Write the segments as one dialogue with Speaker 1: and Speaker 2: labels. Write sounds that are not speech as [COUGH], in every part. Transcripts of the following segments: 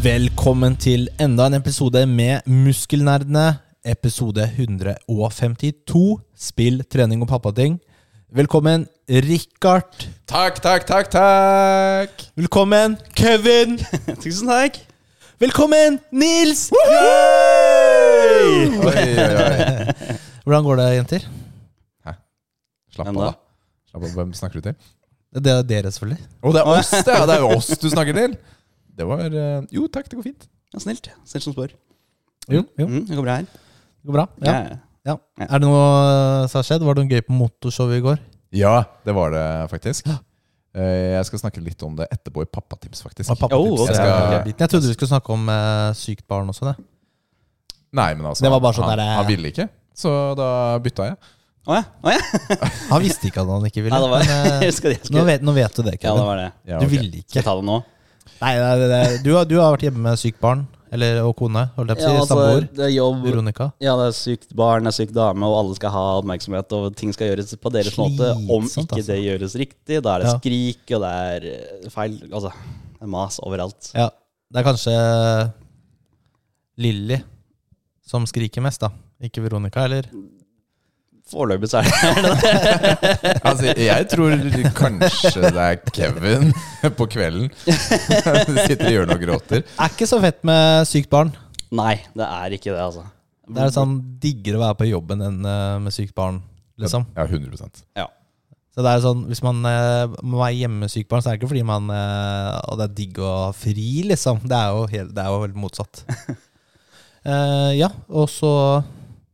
Speaker 1: Velkommen til enda en episode med Muskelnerdene. Episode 152, spill, trening og pappating. Velkommen, Richard.
Speaker 2: Takk, takk, takk, takk!
Speaker 1: Velkommen, Kevin.
Speaker 3: [LAUGHS] Tusen takk.
Speaker 1: Velkommen, Nils. Yay!
Speaker 2: Oi, oi, oi.
Speaker 1: Hvordan går det, jenter?
Speaker 2: Slapp
Speaker 3: Hvem
Speaker 2: av, da.
Speaker 3: da?
Speaker 2: Slapp av, Hvem snakker du til?
Speaker 1: Det er dere, selvfølgelig.
Speaker 2: Å, det er oss, det! ja, Det er jo oss du snakker til! Det var eh, Jo, takk, det går fint.
Speaker 3: Ja, snilt. Snilt som spør.
Speaker 1: Jo, jo.
Speaker 3: Mm, det går bra her.
Speaker 1: Det går bra. Ja.
Speaker 3: Ja.
Speaker 1: Ja. Er det noe eh, som har skjedd? Var det noe gøy på motorshowet i går?
Speaker 2: Ja, det var det faktisk. Eh, Jeg skal snakke litt om det etterpå i pappatips, faktisk.
Speaker 1: Ah, pappatips.
Speaker 3: Oh, ok.
Speaker 1: Jeg
Speaker 2: Ja,
Speaker 1: skal- Jeg trodde vi skulle snakke om eh, sykt barn også. det
Speaker 2: Nei, men altså
Speaker 1: Det var bare sånn
Speaker 2: han,
Speaker 1: der, eh,
Speaker 2: han ville ikke, så da bytta jeg.
Speaker 3: Å ja. Å, ja.
Speaker 1: Han visste ikke at han ikke ville.
Speaker 3: Nei, det var,
Speaker 1: men, eh,
Speaker 3: [LAUGHS] jeg husker det. Jeg
Speaker 1: Nå
Speaker 3: husker det.
Speaker 1: vet, nå vet du det,
Speaker 3: Ja,
Speaker 1: Kevin.
Speaker 3: det var det.
Speaker 1: Du
Speaker 2: Ja, ok.
Speaker 1: ville
Speaker 3: Skal
Speaker 1: ikke.
Speaker 3: jeg ta det nå?
Speaker 1: Nei, nei, nei, nei. Du, har, du har vært hjemme med sykt barn. Eller, og kone. Holdt jeg på å si. Samboer.
Speaker 3: altså, det er jobb.
Speaker 1: Veronica.
Speaker 3: Ja, det er sykt barn, det er syk dame, og alle skal ha oppmerksomhet, og ting skal gjøres på deres måte. Om
Speaker 1: Slitsomt,
Speaker 3: ikke
Speaker 1: altså.
Speaker 3: det gjøres riktig, da er det
Speaker 1: Ja.
Speaker 3: skrik, og det er eh, feil Altså, det er mas overalt.
Speaker 1: Ja, det er kanskje Lilly som skriker mest, da. Ikke Veronica, eller?
Speaker 3: Foreløpig så er det [LAUGHS]
Speaker 2: Altså, jeg tror kanskje det er Kevin [LAUGHS] på kvelden.
Speaker 1: [LAUGHS]
Speaker 2: Sitter i hjørnet og gråter.
Speaker 1: Er ikke så fett med sykt barn.
Speaker 3: Nei, det er ikke det, altså.
Speaker 1: Det er sånn diggere å være på jobben enn eh, med sykt barn, liksom.
Speaker 2: Ja, 100
Speaker 3: Ja.
Speaker 1: Så det er sånn, Hvis man eh, må være hjemme med sykt barn, så er det ikke fordi man eh, Og det er digg å ha fri, liksom. Det er jo helt, det er jo helt motsatt. Eh, ja, og så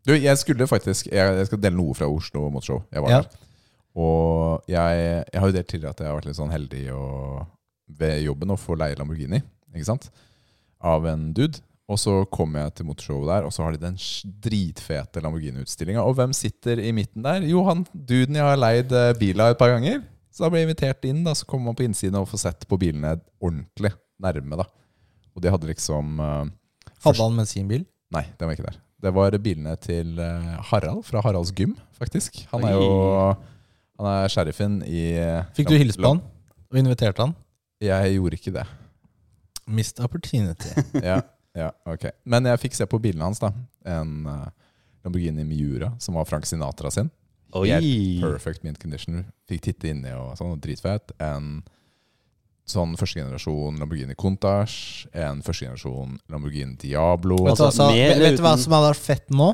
Speaker 2: Du, jeg skulle faktisk Jeg, jeg skal dele noe fra Oslo Motorshow. Jeg var
Speaker 1: Ja.
Speaker 2: der. Og jeg, jeg har jo delt tidligere at jeg har vært litt sånn heldig og, ved jobben å få leie Lamborghini. Ikke sant? Av en dude. Og så kommer jeg til motorshowet der, og så har de den sj- dritfete Lamborghini-utstillinga. Og hvem sitter i midten der? Jo, han duden jeg har leid eh, bil av et par ganger. Så da blir jeg invitert inn, da, så kommer man på innsiden og får sett på bilene ordentlig nærme. da. Og de hadde liksom eh,
Speaker 1: hadde han med sin bil.
Speaker 2: Nei, den var ikke der. Det var bilene til eh, Harald fra Haralds gym, faktisk. Han er jo han er sheriffen i
Speaker 1: Fikk du hilse på han og inviterte han?
Speaker 2: Jeg gjorde ikke det.
Speaker 1: Missed opportunity.
Speaker 2: Ja, ja, ok. Men jeg fikk se på bilene hans, da. En eh, Lamborghini Miura, som var Frank Sinatra sin.
Speaker 3: Oi!
Speaker 2: Helt perfect mint condition. Fikk titte inni og sånn, og dritfett. En sånn første generasjon Lamborghini Countach. En første generasjon Lamborghini Diablo.
Speaker 1: Vet du,
Speaker 3: Altså,
Speaker 1: altså,
Speaker 3: med
Speaker 1: vet,
Speaker 3: eller
Speaker 1: vet du hva
Speaker 3: uten?
Speaker 1: som hadde vært fett nå?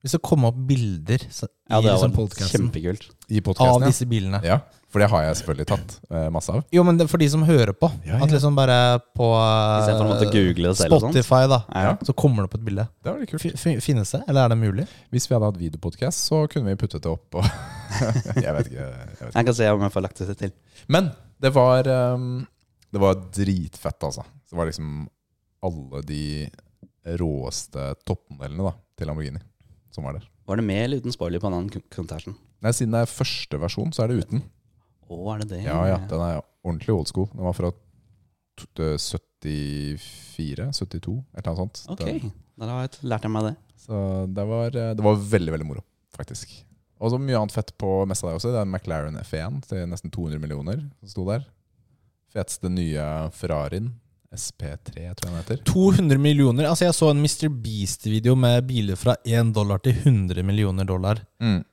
Speaker 1: Hvis det kom opp bilder så, i
Speaker 3: Ja, det
Speaker 1: liksom
Speaker 3: var
Speaker 1: podcasten
Speaker 3: kjempekult.
Speaker 2: I
Speaker 1: av
Speaker 2: podkasten,
Speaker 1: disse bilene.
Speaker 2: ja. ja. For det har jeg selvfølgelig tatt eh, masse av.
Speaker 1: Jo, men det, for de som hører på.
Speaker 2: Ja, ja.
Speaker 1: At liksom bare på
Speaker 3: I stedet for å måtte
Speaker 1: eh,
Speaker 3: google det selv og sånn. sånt.
Speaker 1: Spotify, da.
Speaker 3: Ja.
Speaker 1: Så kommer det opp et bilde.
Speaker 2: Det var litt kult.
Speaker 1: Fi- fi- Finnes det, eller er det mulig?
Speaker 2: Hvis vi hadde hatt videopodcast, så kunne vi puttet det opp. Og [LAUGHS] jeg vet ikke, jeg vet
Speaker 3: Jeg kan se om jeg får lagt det til.
Speaker 2: ikke. Men det var, ehm, det var dritfett, altså. Det var liksom alle de råeste toppmodellene da, til Lamborghini som var der.
Speaker 3: Var det med eller uten spoiler på den kun- konserten?
Speaker 2: Nei, Siden det er første versjon, så er det uten.
Speaker 3: Å, er det det?
Speaker 2: Ja, ja, Den er ordentlig old school. Den var fra t- eh, 74, 72, et eller annet sånt.
Speaker 3: Ok,
Speaker 2: Den-
Speaker 3: da har jeg lært meg det.
Speaker 2: Så det var, eh, det var veldig, veldig moro, faktisk. Og så mye annet fett på messa der også. Det er en McLaren F1 til nesten 200 millioner som sto der. Feteste nye Ferrarien. SP3, tror jeg den heter.
Speaker 1: 200 millioner. Altså, jeg så en Mr. Beast-video med biler fra 1 dollar til 100 millioner dollar. Eh,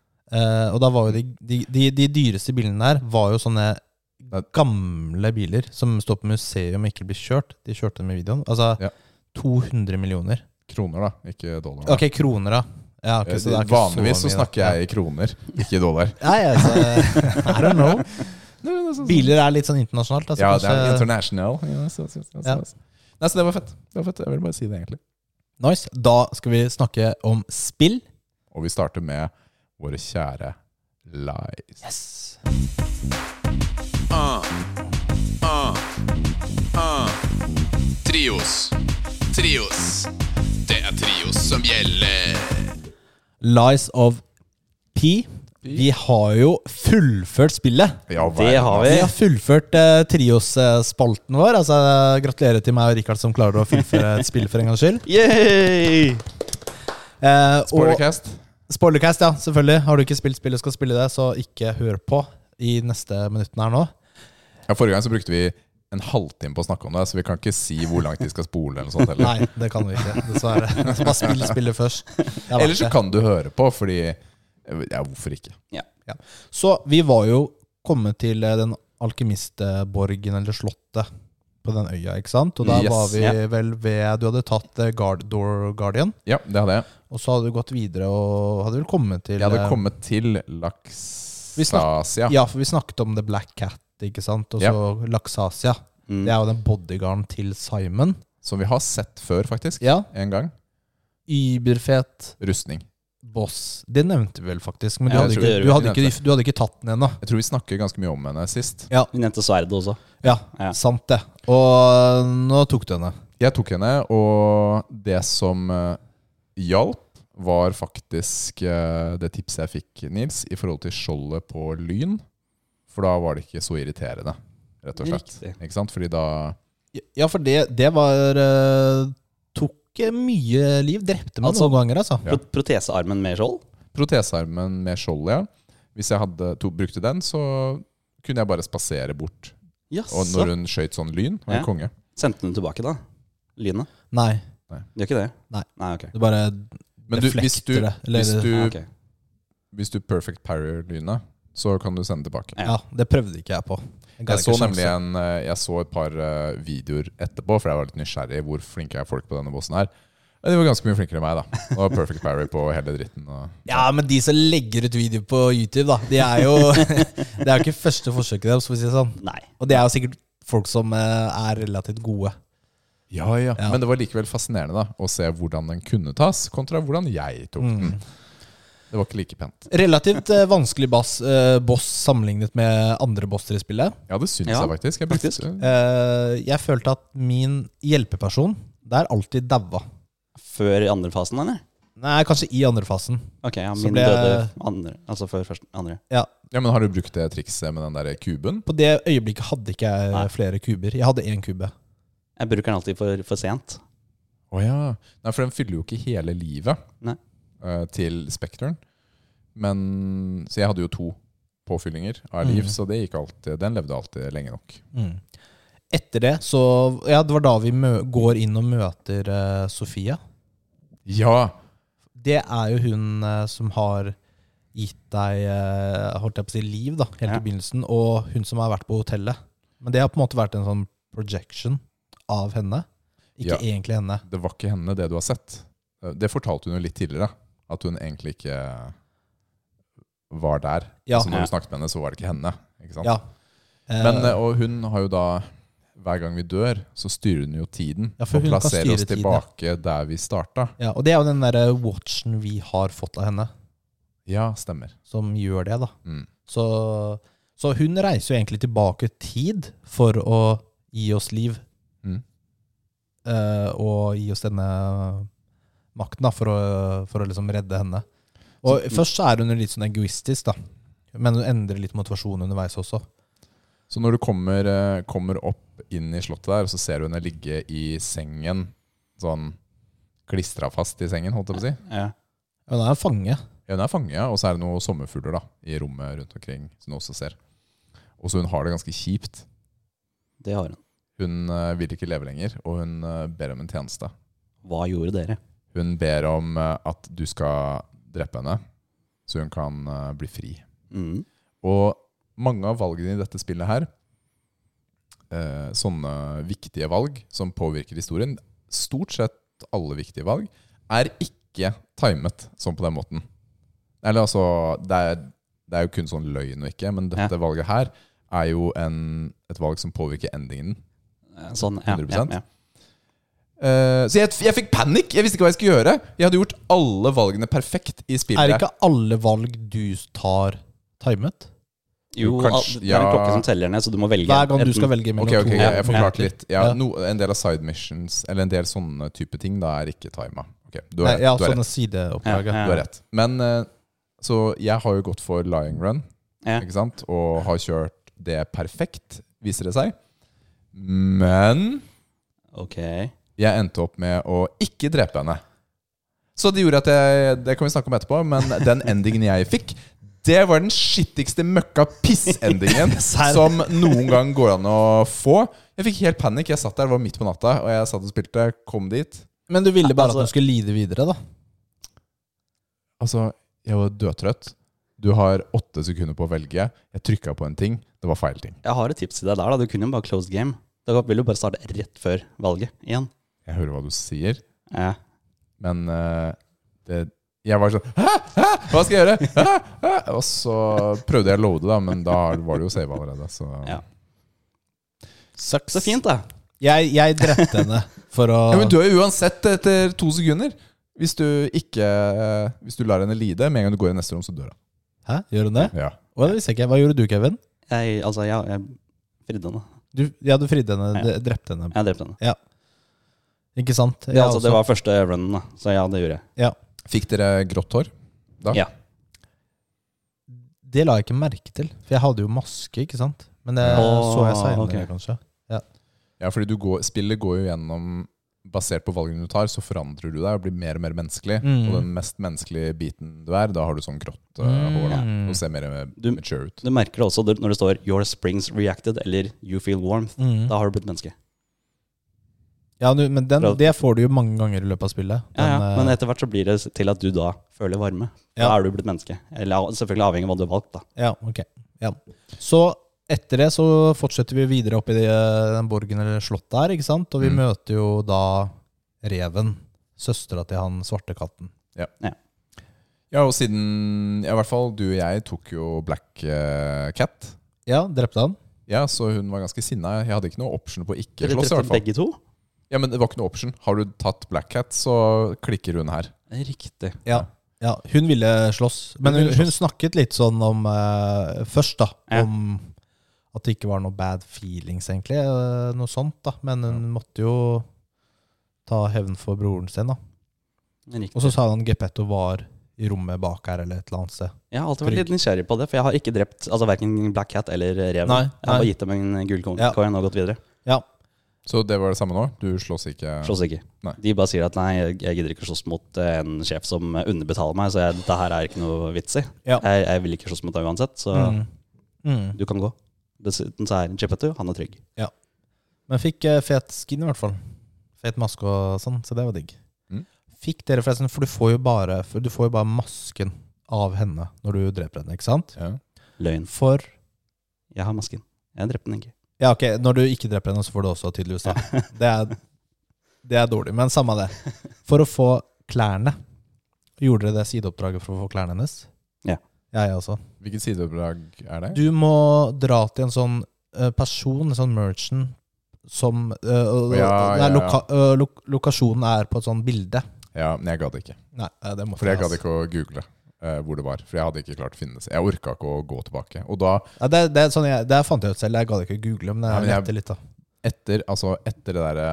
Speaker 1: og da var jo de, de, de, de dyreste bilene der var jo sånne
Speaker 2: Det-
Speaker 1: gamle biler som står på museum og ikke blir kjørt. De kjørte dem i videoen. Altså
Speaker 2: Ja.
Speaker 1: 200 millioner.
Speaker 2: Kroner, da, ikke dollar.
Speaker 1: Ok, kroner, da. Ja, ok, så det er ikke
Speaker 2: Vanligvis så
Speaker 1: mye, da.
Speaker 2: snakker jeg i kroner, ikke
Speaker 1: [LAUGHS]
Speaker 2: i dollar.
Speaker 1: ja. Nei, altså, [LAUGHS] I don't know. Biler er litt sånn internasjonalt. Altså,
Speaker 2: ja, det er
Speaker 1: kanskje-
Speaker 2: international. Ja, så, så, så, så.
Speaker 1: Ja.
Speaker 2: Nei, så det var fett. Det var fett. Jeg vil bare si det, egentlig.
Speaker 1: nice. Da skal vi snakke om spill.
Speaker 2: Og vi starter med våre kjære Lies.
Speaker 1: Yes.
Speaker 2: Trios.
Speaker 4: trios. Det er trios som gjelder.
Speaker 1: Lies of P. Vi har jo fullført spillet.
Speaker 2: Ja, hva er
Speaker 3: Det har vi.
Speaker 1: Vi har fullført eh, trios-spalten vår. Altså, Gratulerer til meg og Rikard som klarer å fullføre et spill for en gangs skyld.
Speaker 3: Yay!
Speaker 1: Eh, og
Speaker 2: Spoilercast.
Speaker 1: Spoilercast, ja, selvfølgelig. Har du ikke spilt spillet, skal spille det, så ikke hør på i neste minutten her nå.
Speaker 2: Ja, forrige gang så brukte vi en halvtime på å snakke om det, så vi kan ikke si hvor langt de skal spole. eller noe sånt heller.
Speaker 1: [LAUGHS] Nei, det kan du ikke, dessverre. Så Bare spill spillet først. Det er verdt
Speaker 2: Eller så
Speaker 1: det.
Speaker 2: kan du høre på, fordi Ja, hvorfor ikke?
Speaker 1: Så vi var jo kommet til eh, den alkymistborgen, eller slottet, på den øya, ikke sant? Og da
Speaker 2: Yes.
Speaker 1: var vi
Speaker 3: Ja.
Speaker 1: vel ved Du hadde tatt eh, Guard Door Guardian,
Speaker 2: Ja, det hadde jeg.
Speaker 1: og så hadde du gått videre og hadde vel kommet til
Speaker 2: Jeg hadde
Speaker 1: eh,
Speaker 2: kommet til
Speaker 1: Vi
Speaker 2: Laksasia.
Speaker 1: Ja, for vi snakket om The Black Cat, ikke sant? Og så Laksasia.
Speaker 3: Mm.
Speaker 1: Det er jo den bodyguarden til Simon.
Speaker 2: Som vi har sett før, faktisk.
Speaker 1: Ja.
Speaker 2: En gang.
Speaker 1: Überfet
Speaker 2: Rustning.
Speaker 1: boss. Det nevnte vi vel faktisk, men du
Speaker 2: Ja,
Speaker 1: hadde,
Speaker 2: jeg
Speaker 1: ikke,
Speaker 3: tror
Speaker 1: du,
Speaker 3: vi
Speaker 1: hadde
Speaker 2: nevnte
Speaker 1: ikke, du hadde ikke tatt den ennå.
Speaker 2: Jeg tror vi snakker ganske mye om henne sist.
Speaker 3: Vi nevnte sverdet også.
Speaker 1: Ja,
Speaker 3: Ja.
Speaker 1: sant det. Og nå tok du henne.
Speaker 2: Jeg tok henne, og det som eh, hjalp, var faktisk eh, det tipset jeg fikk, Nils, i forhold til skjoldet på lyn. For da var det ikke så irriterende, rett og slett.
Speaker 3: Riktig.
Speaker 2: Ikke sant? Fordi da
Speaker 1: Ja, for det, det var eh, Tok eh, mye liv. Drepte meg
Speaker 3: Altså-
Speaker 1: noen ganger, altså.
Speaker 2: Ja.
Speaker 3: Pro- Protesearmen med skjold?
Speaker 2: Protesearmen med skjoldet, ja. Hvis jeg hadde to, brukte den, så kunne jeg bare spasere bort. Og
Speaker 3: Jaså.
Speaker 2: når hun skøyt sånn lyn, var
Speaker 3: Ja.
Speaker 2: hun konge.
Speaker 3: Sendte den tilbake, da? Lynet?
Speaker 1: Nei,
Speaker 3: Gjør ikke det?
Speaker 1: Nei.
Speaker 3: Nei, ok.
Speaker 1: det bare
Speaker 2: Men du,
Speaker 1: deflekter
Speaker 2: hvis du,
Speaker 1: det. Eller,
Speaker 2: hvis du,
Speaker 3: Ja, ok.
Speaker 2: hvis du perfect parrier lynet, så kan du sende tilbake.
Speaker 1: ja, det prøvde ikke jeg på. ga det
Speaker 2: Jeg så
Speaker 1: ikke
Speaker 2: nemlig
Speaker 1: sjanse.
Speaker 2: en, eh, jeg så et par eh, videoer etterpå, for jeg var litt nysgjerrig hvor flinke er folk på denne bossen her. Ja, De var ganske mye flinkere enn meg, da. Det var perfect parry på hele dritten. Og...
Speaker 1: Ja, men de som legger ut video på YouTube, da. De er jo, [LAUGHS] det er jo ikke første forsøket deres, for å si det sånn.
Speaker 3: Nei.
Speaker 1: Og det er jo sikkert folk som eh, er relativt gode.
Speaker 2: [LAUGHS] Ja, ja. Men det var likevel fascinerende da, å se hvordan den kunne tas, kontra hvordan jeg tok den. Det var ikke like pent.
Speaker 1: Mm. Relativt eh, vanskelig bass, eh, boss sammenlignet med andre bosser i spillet.
Speaker 2: Ja, det syns
Speaker 3: Ja,
Speaker 2: jeg faktisk. Jeg brukte,
Speaker 1: Eh, jeg følte at min hjelpeperson Det er alltid daua.
Speaker 3: Før i andre fasen, eller?
Speaker 1: Nei, kanskje i andre fasen.
Speaker 3: Ok, ja,
Speaker 1: Så
Speaker 3: min
Speaker 1: ble-
Speaker 3: døde andre. Altså før først andre.
Speaker 1: Ja,
Speaker 2: Ja, men Har du brukt det trikset med den der kuben?
Speaker 1: På det øyeblikket hadde ikke jeg
Speaker 3: Nei.
Speaker 1: flere kuber. Jeg hadde én kube.
Speaker 3: Jeg bruker den alltid for, for sent.
Speaker 2: Å ja. Nei, for den fyller jo ikke hele livet
Speaker 3: Nei.
Speaker 2: eh, til Spekteren. Men Så jeg hadde jo to påfyllinger av liv,
Speaker 1: Mhm.
Speaker 2: så det gikk alltid, den levde alltid lenge nok.
Speaker 1: Mm. Etter det så Ja, det var da vi mø går inn og møter eh, Sofie.
Speaker 2: Ja!
Speaker 1: Det er jo hun eh, som har gitt deg eh, holdt jeg på å si, liv da, helt
Speaker 3: Ja.
Speaker 1: i begynnelsen, og hun som har vært på hotellet. Men det har på en måte vært en sånn projection av henne. Ikke
Speaker 2: Ja.
Speaker 1: egentlig henne.
Speaker 2: Det var ikke henne, det du har sett. Eh, Det fortalte hun jo litt tidligere. At hun egentlig ikke var der.
Speaker 1: Ja.
Speaker 2: Altså når
Speaker 3: Ja.
Speaker 2: du snakket med henne, så var det ikke henne. Ikke sant?
Speaker 1: Ja. Eh,
Speaker 2: Men, eh, og hun har jo da Hver gang vi dør, så styrer hun jo tiden.
Speaker 1: Ja, for
Speaker 2: og
Speaker 1: hun kan
Speaker 2: plasserer
Speaker 1: styre
Speaker 2: oss
Speaker 1: tiden, ja.
Speaker 2: tilbake der vi starta.
Speaker 1: ja, og det er jo den derre watchen vi har fått av henne,
Speaker 2: Ja, stemmer.
Speaker 1: som gjør det, da.
Speaker 2: Mm.
Speaker 1: Så, så hun reiser jo egentlig tilbake i tid for å gi oss liv.
Speaker 2: Mm.
Speaker 1: Eh, og gi oss denne makten, da, for å, for å liksom redde henne. Og først så er hun jo litt sånn egoistisk, da. Men hun endrer litt motivasjon underveis også.
Speaker 2: Så når du kommer, eh, kommer opp inn i slottet der, og så ser du henne ligge i sengen, sånn klistra fast i sengen, holdt jeg på å si.
Speaker 3: Ja.
Speaker 1: Hun er en fange.
Speaker 2: Ja, Hun er fanget, ja, og så er det noen sommerfugler da, i rommet rundt omkring, som du også ser. Og så hun har det ganske kjipt.
Speaker 3: Det har hun.
Speaker 2: Hun eh, vil ikke leve lenger, og hun eh, ber om en tjeneste.
Speaker 3: Hva gjorde dere?
Speaker 2: Hun ber om eh, at du skal drepe henne, så hun kan eh, bli fri.
Speaker 3: Mm.
Speaker 2: Og mange av valgene i dette spillet her, eh, sånne viktige valg som påvirker historien, stort sett alle viktige valg, er ikke timet sånn på den måten. Eller altså, det er, det er jo kun sånn løgn og ikke, men dette valget her er jo en, et valg som påvirker endingen.
Speaker 3: Sånn, ja.
Speaker 2: 100%.
Speaker 3: ja, ja.
Speaker 2: Eh, så jeg, jeg fikk panikk! Jeg visste ikke hva jeg skulle gjøre. Jeg hadde gjort alle valgene perfekt i spillet.
Speaker 1: Er ikke alle valg du tar, timet?
Speaker 3: Jo,
Speaker 2: Kanskje-
Speaker 3: al- det er en
Speaker 2: ja.
Speaker 3: klokke som teller ned, så du må velge.
Speaker 1: Hver gang du
Speaker 3: enten-
Speaker 1: skal velge mellom
Speaker 2: Ok, ok,
Speaker 1: to.
Speaker 2: jeg, jeg forklarte
Speaker 1: Ja.
Speaker 2: litt. Ja,
Speaker 1: Ja.
Speaker 2: no, en del av side missions, eller en del sånne type ting, da er ikke tima. Ok, du
Speaker 1: Nei,
Speaker 2: har
Speaker 1: ja,
Speaker 2: rett. Du har
Speaker 1: sånne
Speaker 2: rett.
Speaker 1: sideoppdrag.
Speaker 3: Ja,
Speaker 1: Ja,
Speaker 2: Du har rett. Men eh, så jeg har jo gått for lying run,
Speaker 3: Ja.
Speaker 2: ikke sant? Og har kjørt det perfekt, viser det seg. Men
Speaker 3: Ok.
Speaker 2: jeg endte opp med å ikke drepe henne. Så det gjorde at jeg Det kan vi snakke om etterpå, men den endingen jeg fikk, det var den skittigste møkka piss-endingen
Speaker 1: Serr.
Speaker 2: som noen gang går an å få. Jeg fikk helt panikk. Jeg satt der, det var midt på natta, og jeg satt og spilte. Kom dit.
Speaker 1: Men du ville bare
Speaker 3: Altså-
Speaker 1: at du skulle lide videre, da.
Speaker 2: Altså, jeg var dødtrøtt. Du har åtte sekunder på å velge. Jeg trykka på en ting. Det var feil ting.
Speaker 3: Jeg har et tips til deg der, da. Du kunne jo bare closed game. Da vil du bare starte rett før valget igjen.
Speaker 2: Jeg hører hva du sier,
Speaker 3: Ja.
Speaker 2: men eh, det, jeg var sånn Hæ? Hæ? Hva skal jeg gjøre? Hæ? Hæ? Og så prøvde jeg å loade, da, men da var det jo save allerede. Så.
Speaker 3: Ja.
Speaker 2: Ja.
Speaker 1: Sucks.
Speaker 3: Så fint, da.
Speaker 1: Jeg, jeg drepte henne for
Speaker 2: [LAUGHS]
Speaker 1: å
Speaker 2: Men du er jo uansett etter to sekunder. Hvis du ikke eh, Hvis du lar henne lide, med en gang du går i neste rom, så dør hun.
Speaker 1: Hæ, gjør hun det?
Speaker 2: Ja.
Speaker 1: Å, det visste jeg ikke. Hva gjorde du, Kevin?
Speaker 3: Jeg, altså, jeg, jeg fridde henne.
Speaker 1: Du, ja, du fridde henne.
Speaker 3: Ja.
Speaker 1: d- Drepte henne.
Speaker 3: Jeg drepte henne.
Speaker 1: Ikke sant?
Speaker 3: Det,
Speaker 1: Jeg
Speaker 3: altså, det
Speaker 1: også.
Speaker 3: var første runnen, da. Så ja, det gjorde jeg.
Speaker 2: Fikk dere grått hår? Da?
Speaker 3: Ja.
Speaker 1: Det la jeg ikke merke til, for jeg hadde jo maske, ikke sant? Men det
Speaker 3: Åh,
Speaker 1: så jeg seinere,
Speaker 3: ok.
Speaker 1: kanskje.
Speaker 2: Ja, fordi du går, spillet går jo gjennom Basert på valgene du tar, så forandrer du deg og blir mer og mer menneskelig.
Speaker 1: Mm.
Speaker 2: Og den mest menneskelige biten du er, da har du sånn grått eh, hår. Da.
Speaker 1: Mm.
Speaker 2: Og ser mer eh,
Speaker 3: Du-
Speaker 2: mature ut.
Speaker 3: Du merker det også når det står 'Your springs reacted' eller 'You feel warmth'.
Speaker 1: Mm.
Speaker 3: Da har du blitt menneske.
Speaker 1: Ja, du, men den,
Speaker 3: Bra.
Speaker 1: det får du jo mange ganger i løpet av spillet.
Speaker 3: Ja, ja.
Speaker 1: Den, eh,
Speaker 3: Men etter hvert så blir det til at du da føler varme. Da
Speaker 1: Ja.
Speaker 3: er du blitt menneske. Eller selvfølgelig avhengig av hva du har valgt, da.
Speaker 1: eh, Ja, ok. Ja. Så etter det så fortsetter vi videre opp i det, den borgen eller slottet her, ikke sant? Og vi
Speaker 2: Mm.
Speaker 1: møter jo da reven, søstera til han svarte katten.
Speaker 2: Ja, og siden ja, I hvert fall du og jeg tok jo Black eh, Cat.
Speaker 1: Ja, drepte han.
Speaker 2: Ja, så hun var ganske sinna. Jeg hadde ikke noe option på å ikke
Speaker 3: Dere
Speaker 2: slåss. i
Speaker 3: drepte
Speaker 2: hvert fall
Speaker 3: begge to?
Speaker 2: Ja, men det var ikke noe option. Har du tatt Black Cat, så klikker hun her.
Speaker 3: Riktig.
Speaker 1: Ja. ja hun ville slåss, men
Speaker 2: Hun
Speaker 1: hun,
Speaker 2: ville
Speaker 1: hun snakket litt sånn om eh, Først, da,
Speaker 3: Ja.
Speaker 1: om at det ikke var noe bad feelings, egentlig. eh, noe sånt, da. Men hun måtte jo ta hevn for broren sin, da.
Speaker 3: Riktig.
Speaker 1: Og så sa han Geppetto var i rommet bak her, eller et eller annet sted.
Speaker 3: Jeg har alltid vært litt nysgjerrig på det, for jeg har ikke drept altså, verken Black Cat eller Reven.
Speaker 1: Nei,
Speaker 3: Jeg har
Speaker 1: nei.
Speaker 3: bare gitt dem en gullcoin
Speaker 1: Ja.
Speaker 3: coin og gått videre.
Speaker 1: Ja.
Speaker 2: Så det var det samme nå? Du slåss ikke?
Speaker 3: Slåss ikke.
Speaker 2: Nei.
Speaker 3: De bare sier at nei, jeg jeg gidder ikke å slåss mot eh, en sjef som underbetaler meg, så jeg, dette her er ikke noe vits i.
Speaker 1: Ja.
Speaker 3: Jeg, jeg vil ikke slåss mot deg uansett, så
Speaker 1: Mm. Mm.
Speaker 3: du kan gå. Dessuten så er Chepettu, han er trygg.
Speaker 1: Men fikk eh, fet skin i hvert fall. Fet maske og sånn, så det var digg.
Speaker 2: Mm.
Speaker 1: Fikk dere forresten, for du får jo bare, for du får jo bare masken av henne når du dreper henne, ikke sant?
Speaker 2: Ja.
Speaker 3: Løgn.
Speaker 1: For
Speaker 3: Jeg har masken. Jeg drepte den ikke.
Speaker 1: Ja, ok, når du ikke dreper henne, så får du også tydeligvis da.
Speaker 2: [LAUGHS]
Speaker 1: Det er, det er dårlig, men samme det. For å få klærne Gjorde dere det sideoppdraget for å få klærne hennes?
Speaker 3: Ja.
Speaker 1: Ja, jeg også.
Speaker 2: Hvilket sideoppdrag er det?
Speaker 1: Du må dra til en sånn eh, person, en sånn merchant, som eh, og-
Speaker 2: Ja,
Speaker 1: det er
Speaker 2: ja, ja.
Speaker 1: loka, eh, lok lokasjonen er på et sånt bilde.
Speaker 2: Ja, men jeg gadd ikke.
Speaker 1: Nei, eh, det måtte
Speaker 2: For jeg
Speaker 1: altså.
Speaker 2: gadd ikke å google eh, hvor det var. For jeg hadde ikke klart å finne det. Jeg orka ikke å gå tilbake. Og da,
Speaker 1: Ja, det, det, er sånn jeg, det fant jeg ut selv. Jeg gadd ikke google, men
Speaker 2: Ja,
Speaker 1: jeg
Speaker 2: men jeg-
Speaker 1: lette litt, da.
Speaker 2: etter, altså, etter det derre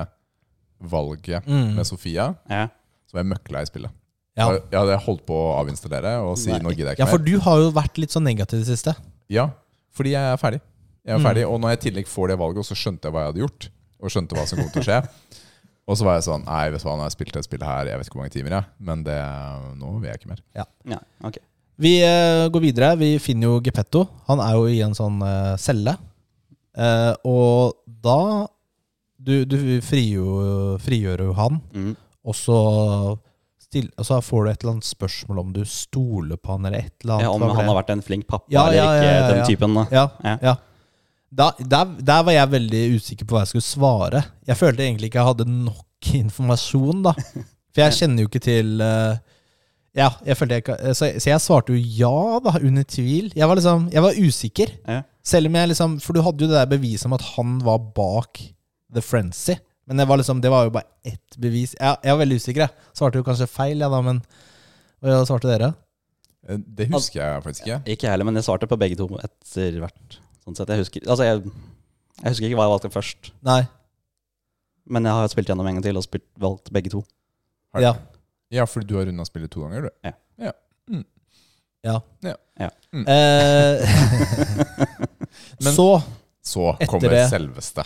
Speaker 2: valget
Speaker 1: Mm.
Speaker 2: med Sofia,
Speaker 3: Ja.
Speaker 2: så var jeg møkla i spillet.
Speaker 1: Ja.
Speaker 2: Jeg, jeg hadde holdt på å avinstallere og si
Speaker 3: Nei.
Speaker 2: nå gidder jeg
Speaker 1: ja,
Speaker 2: ikke
Speaker 1: for
Speaker 2: mer.
Speaker 1: du har jo vært litt sånn negativ i det siste.
Speaker 2: Ja, fordi jeg er ferdig. Jeg er
Speaker 1: Mm.
Speaker 2: ferdig, Og når jeg i tillegg får det valget, og så skjønte jeg hva jeg hadde gjort, og skjønte hva som kom til å skje.
Speaker 1: [LAUGHS]
Speaker 2: Og så var jeg sånn Nei, vet du hva, nå har jeg spilt det spillet her jeg vet ikke hvor mange timer, jeg. Men det, nå vil jeg ikke mer.
Speaker 3: Ja, ok.
Speaker 1: Vi eh, går videre. Vi finner jo Geppetto. Han er jo i en sånn eh, celle. Eh, og da Du, du frigjør, frigjør jo han,
Speaker 3: Mm.
Speaker 1: og så, still, og så får du et eller annet spørsmål om du stoler på han, eller et eller annet.
Speaker 3: Ja, om
Speaker 1: Hva var
Speaker 3: han
Speaker 1: det?
Speaker 3: har vært en flink pappa
Speaker 1: Ja, ja,
Speaker 3: eller ikke,
Speaker 1: ja, ja, ja.
Speaker 3: den typen. Da.
Speaker 1: Ja, ja.
Speaker 3: Ja.
Speaker 1: Da, der, der var jeg veldig usikker på hva jeg skulle svare. Jeg følte egentlig ikke jeg hadde nok [LAUGHS] informasjon, da. For jeg kjenner jo ikke til eh, Ja, jeg følte jeg ikke Så, så jeg svarte jo ja, da, under tvil. Jeg var liksom Jeg var usikker.
Speaker 3: Ja.
Speaker 1: Selv om jeg liksom For du hadde jo det der beviset om at han var bak The Frenzy. Men det var liksom Det var jo bare ett bevis. Jeg, jeg var veldig usikker, jeg. Svarte jo kanskje feil, jeg, da, men Hva svarte dere?
Speaker 2: Eh, Det husker jeg faktisk ikke.
Speaker 3: Ikke jeg heller, men jeg svarte på begge to etter hvert. Sånn sett, jeg husker, altså jeg, jeg husker ikke hva jeg valgte først,
Speaker 1: Nei.
Speaker 3: men jeg har spilt gjennom en gang til og spilt, valgt begge to.
Speaker 2: Har du-
Speaker 1: Ja.
Speaker 2: Ja, fordi du har runda spillet to ganger, du.
Speaker 1: Ja.
Speaker 2: Ja.
Speaker 3: Ja.
Speaker 1: [LAUGHS]
Speaker 2: Mm.
Speaker 1: Eh,
Speaker 2: Men-
Speaker 1: så
Speaker 2: Så
Speaker 1: Etter
Speaker 2: kommer
Speaker 1: det-
Speaker 2: selveste.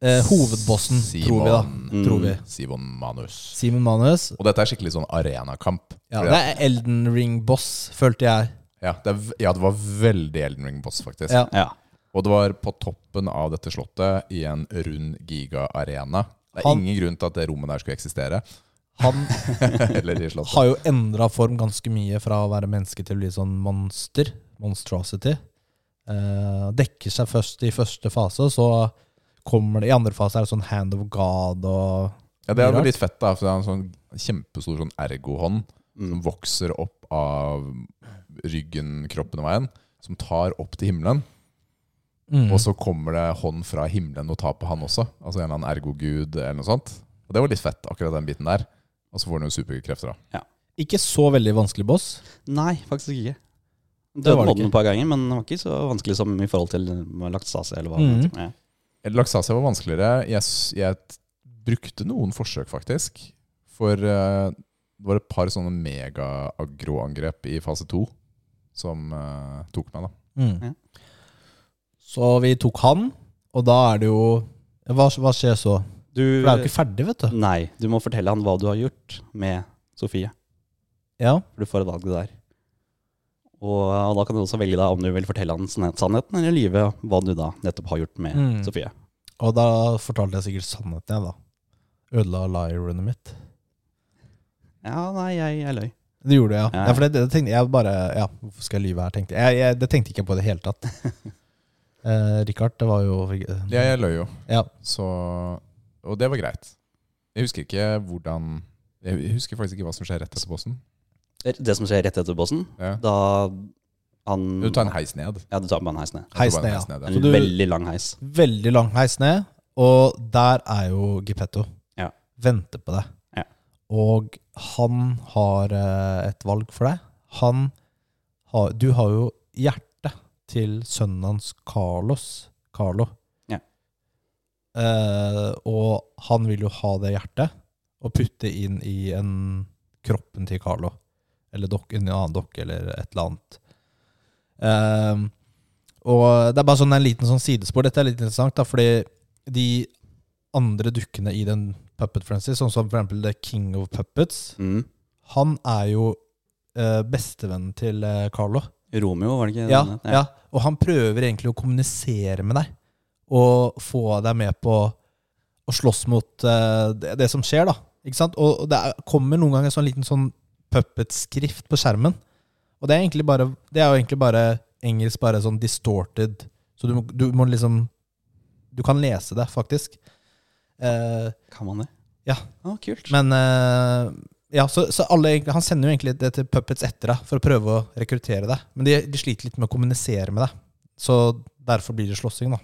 Speaker 1: eh, hovedbossen, tror vi da.
Speaker 2: Simon-
Speaker 1: Mm. Tror vi.
Speaker 2: Simon Manus.
Speaker 1: Simon Manus.
Speaker 2: Og dette er skikkelig sånn arenakamp.
Speaker 1: Ja,
Speaker 2: Fordi
Speaker 1: det er Elden Ring-boss, følte jeg.
Speaker 2: Ja, det, er, v- ja, det var veldig Elden Ring Boss, faktisk.
Speaker 1: Ja.
Speaker 3: Ja.
Speaker 2: Og det var på toppen av dette slottet, i en rund giga-arena. Det er
Speaker 1: Han-
Speaker 2: ingen grunn til at det rommet der skulle eksistere. [LAUGHS]
Speaker 1: Han
Speaker 2: Eller i slottet.
Speaker 1: har jo endra form ganske mye fra å være menneske til å bli sånn monster. Monstrosity. Eh, dekker seg først i første fase, og så kommer det I andre fase er det sånn Hand of God og
Speaker 2: Ja, det er jo litt fett, da. For det er en sånn kjempestor sånn ergo-hånd som
Speaker 3: Mm.
Speaker 2: vokser opp av ryggen, kroppen og veien. Som tar opp til himmelen.
Speaker 1: mm.
Speaker 2: Og så kommer det hånd fra himmelen og tar på han også. Altså en eller annen ergo-gud eller noe sånt. Og det var litt fett, akkurat den biten der. Og så får han jo superkrefter, da.
Speaker 1: Ikke så veldig vanskelig boss.
Speaker 3: Nei, faktisk ikke.
Speaker 1: Det
Speaker 3: Døde
Speaker 1: var det
Speaker 3: modden et par ganger, men det var ikke så vanskelig som i forhold til Laktase eller hva.
Speaker 1: Mm.
Speaker 3: Ja.
Speaker 2: Laksasia var vanskeligere. Jeg, s- jeg t- brukte noen forsøk, faktisk. For eh, det var et par sånne mega-aggro-angrep i fase to som eh, tok meg, da.
Speaker 1: Mm.
Speaker 3: Ja.
Speaker 1: Så vi tok han, og da er det jo Hva, hva skjer så?
Speaker 3: Du, Mm.
Speaker 1: For det er jo ikke ferdig, vet du.
Speaker 3: Nei, du må fortelle han hva du har gjort med Sofie.
Speaker 1: Ja.
Speaker 3: For du får et valg der. Og, og da kan du også velge da om du vil fortelle han sann- sannheten eller lyve hva du da nettopp har gjort med
Speaker 1: Mm.
Speaker 3: Sofie.
Speaker 1: Og da fortalte jeg sikkert sannheten, jeg, da. Ødela liaronet mitt.
Speaker 3: Ja, nei, jeg, jeg løy.
Speaker 1: Det gjorde jeg, ja.
Speaker 3: Ja.
Speaker 1: ja for det, det tenkte jeg bare Ja, hvorfor skal jeg lyve her, tenkte jeg. jeg, jeg det tenkte ikke jeg på i det hele tatt.
Speaker 3: [LAUGHS]
Speaker 1: Eh, Richard, det var jo
Speaker 2: Ja, jeg løy jo.
Speaker 1: Ja.
Speaker 2: Så, og det var greit. Jeg husker ikke hvordan Jeg husker faktisk ikke hva som skjer rett etter bossen.
Speaker 3: Det- Det som skjer rett etter bossen,
Speaker 2: Ja.
Speaker 3: da han
Speaker 2: Du tar en heis ned.
Speaker 3: Ja, du tar med han heisen ned.
Speaker 1: Heis
Speaker 2: Det var
Speaker 1: ned,
Speaker 2: en
Speaker 1: ja.
Speaker 2: heis ned, ja.
Speaker 3: En
Speaker 1: Så du-
Speaker 3: veldig lang heis.
Speaker 1: Veldig lang heis ned, og der er jo Gepetto.
Speaker 3: Ja.
Speaker 1: Venter på deg.
Speaker 3: Ja.
Speaker 1: Og han har eh, et valg for deg. Han har Du har jo hjertet til sønnen hans Carlos. Carlo.
Speaker 3: Ja.
Speaker 1: Eh, og han vil jo ha det hjertet og putte inn i en kroppen til Carlo. Eller dokk, en annen dokke, eller et eller annet. Eh, og det er bare sånn en liten sånn sidespor. Dette er litt interessant, da, fordi de andre dukkene i den Puppet Frenzy, sånn som for eksempel The King of Puppets,
Speaker 3: Mm.
Speaker 1: han er jo eh, bestevennen til eh, Carlo.
Speaker 3: Romeo, var det ikke?
Speaker 1: Ja,
Speaker 3: den het?
Speaker 1: ja, og han prøver egentlig å kommunisere med deg og få deg med på å slåss mot eh, det, det som skjer, da. Ikke sant? Og og det er, kommer noen ganger sånn liten sånn puppet-skrift på skjermen. Og det er, egentlig bare, det er jo egentlig bare engelsk, bare sånn distorted. Så du må, du må liksom Du kan lese det, faktisk. Eh,
Speaker 3: Kan man det?
Speaker 1: Ja.
Speaker 3: Å, kult.
Speaker 1: men eh, Ja, så, så alle egentlig, Han sender jo egentlig det til puppets etter deg for å prøve å rekruttere deg. Men de, de sliter litt med å kommunisere med deg. Så derfor blir det slåssing, da.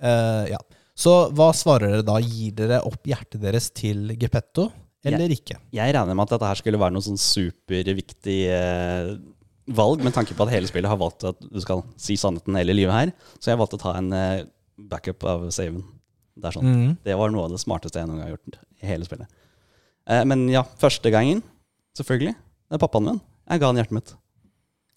Speaker 1: Eh, ja. Så hva svarer dere da? Gir dere opp hjertet deres til Gepetto, eller ikke?
Speaker 3: Jeg regner med at dette her skulle være noe sånn superviktig eh, valg, med tanke på at hele spillet har valgt at du skal si sannheten eller lyve her. Så jeg valgte å ta en eh, backup av saven. Det er sånn.
Speaker 1: Mhm.
Speaker 3: Det var noe av det smarteste jeg noen gang har gjort i hele spillet. Eh, men ja, første gangen, selvfølgelig, det er pappaen min. Jeg ga han hjertet mitt.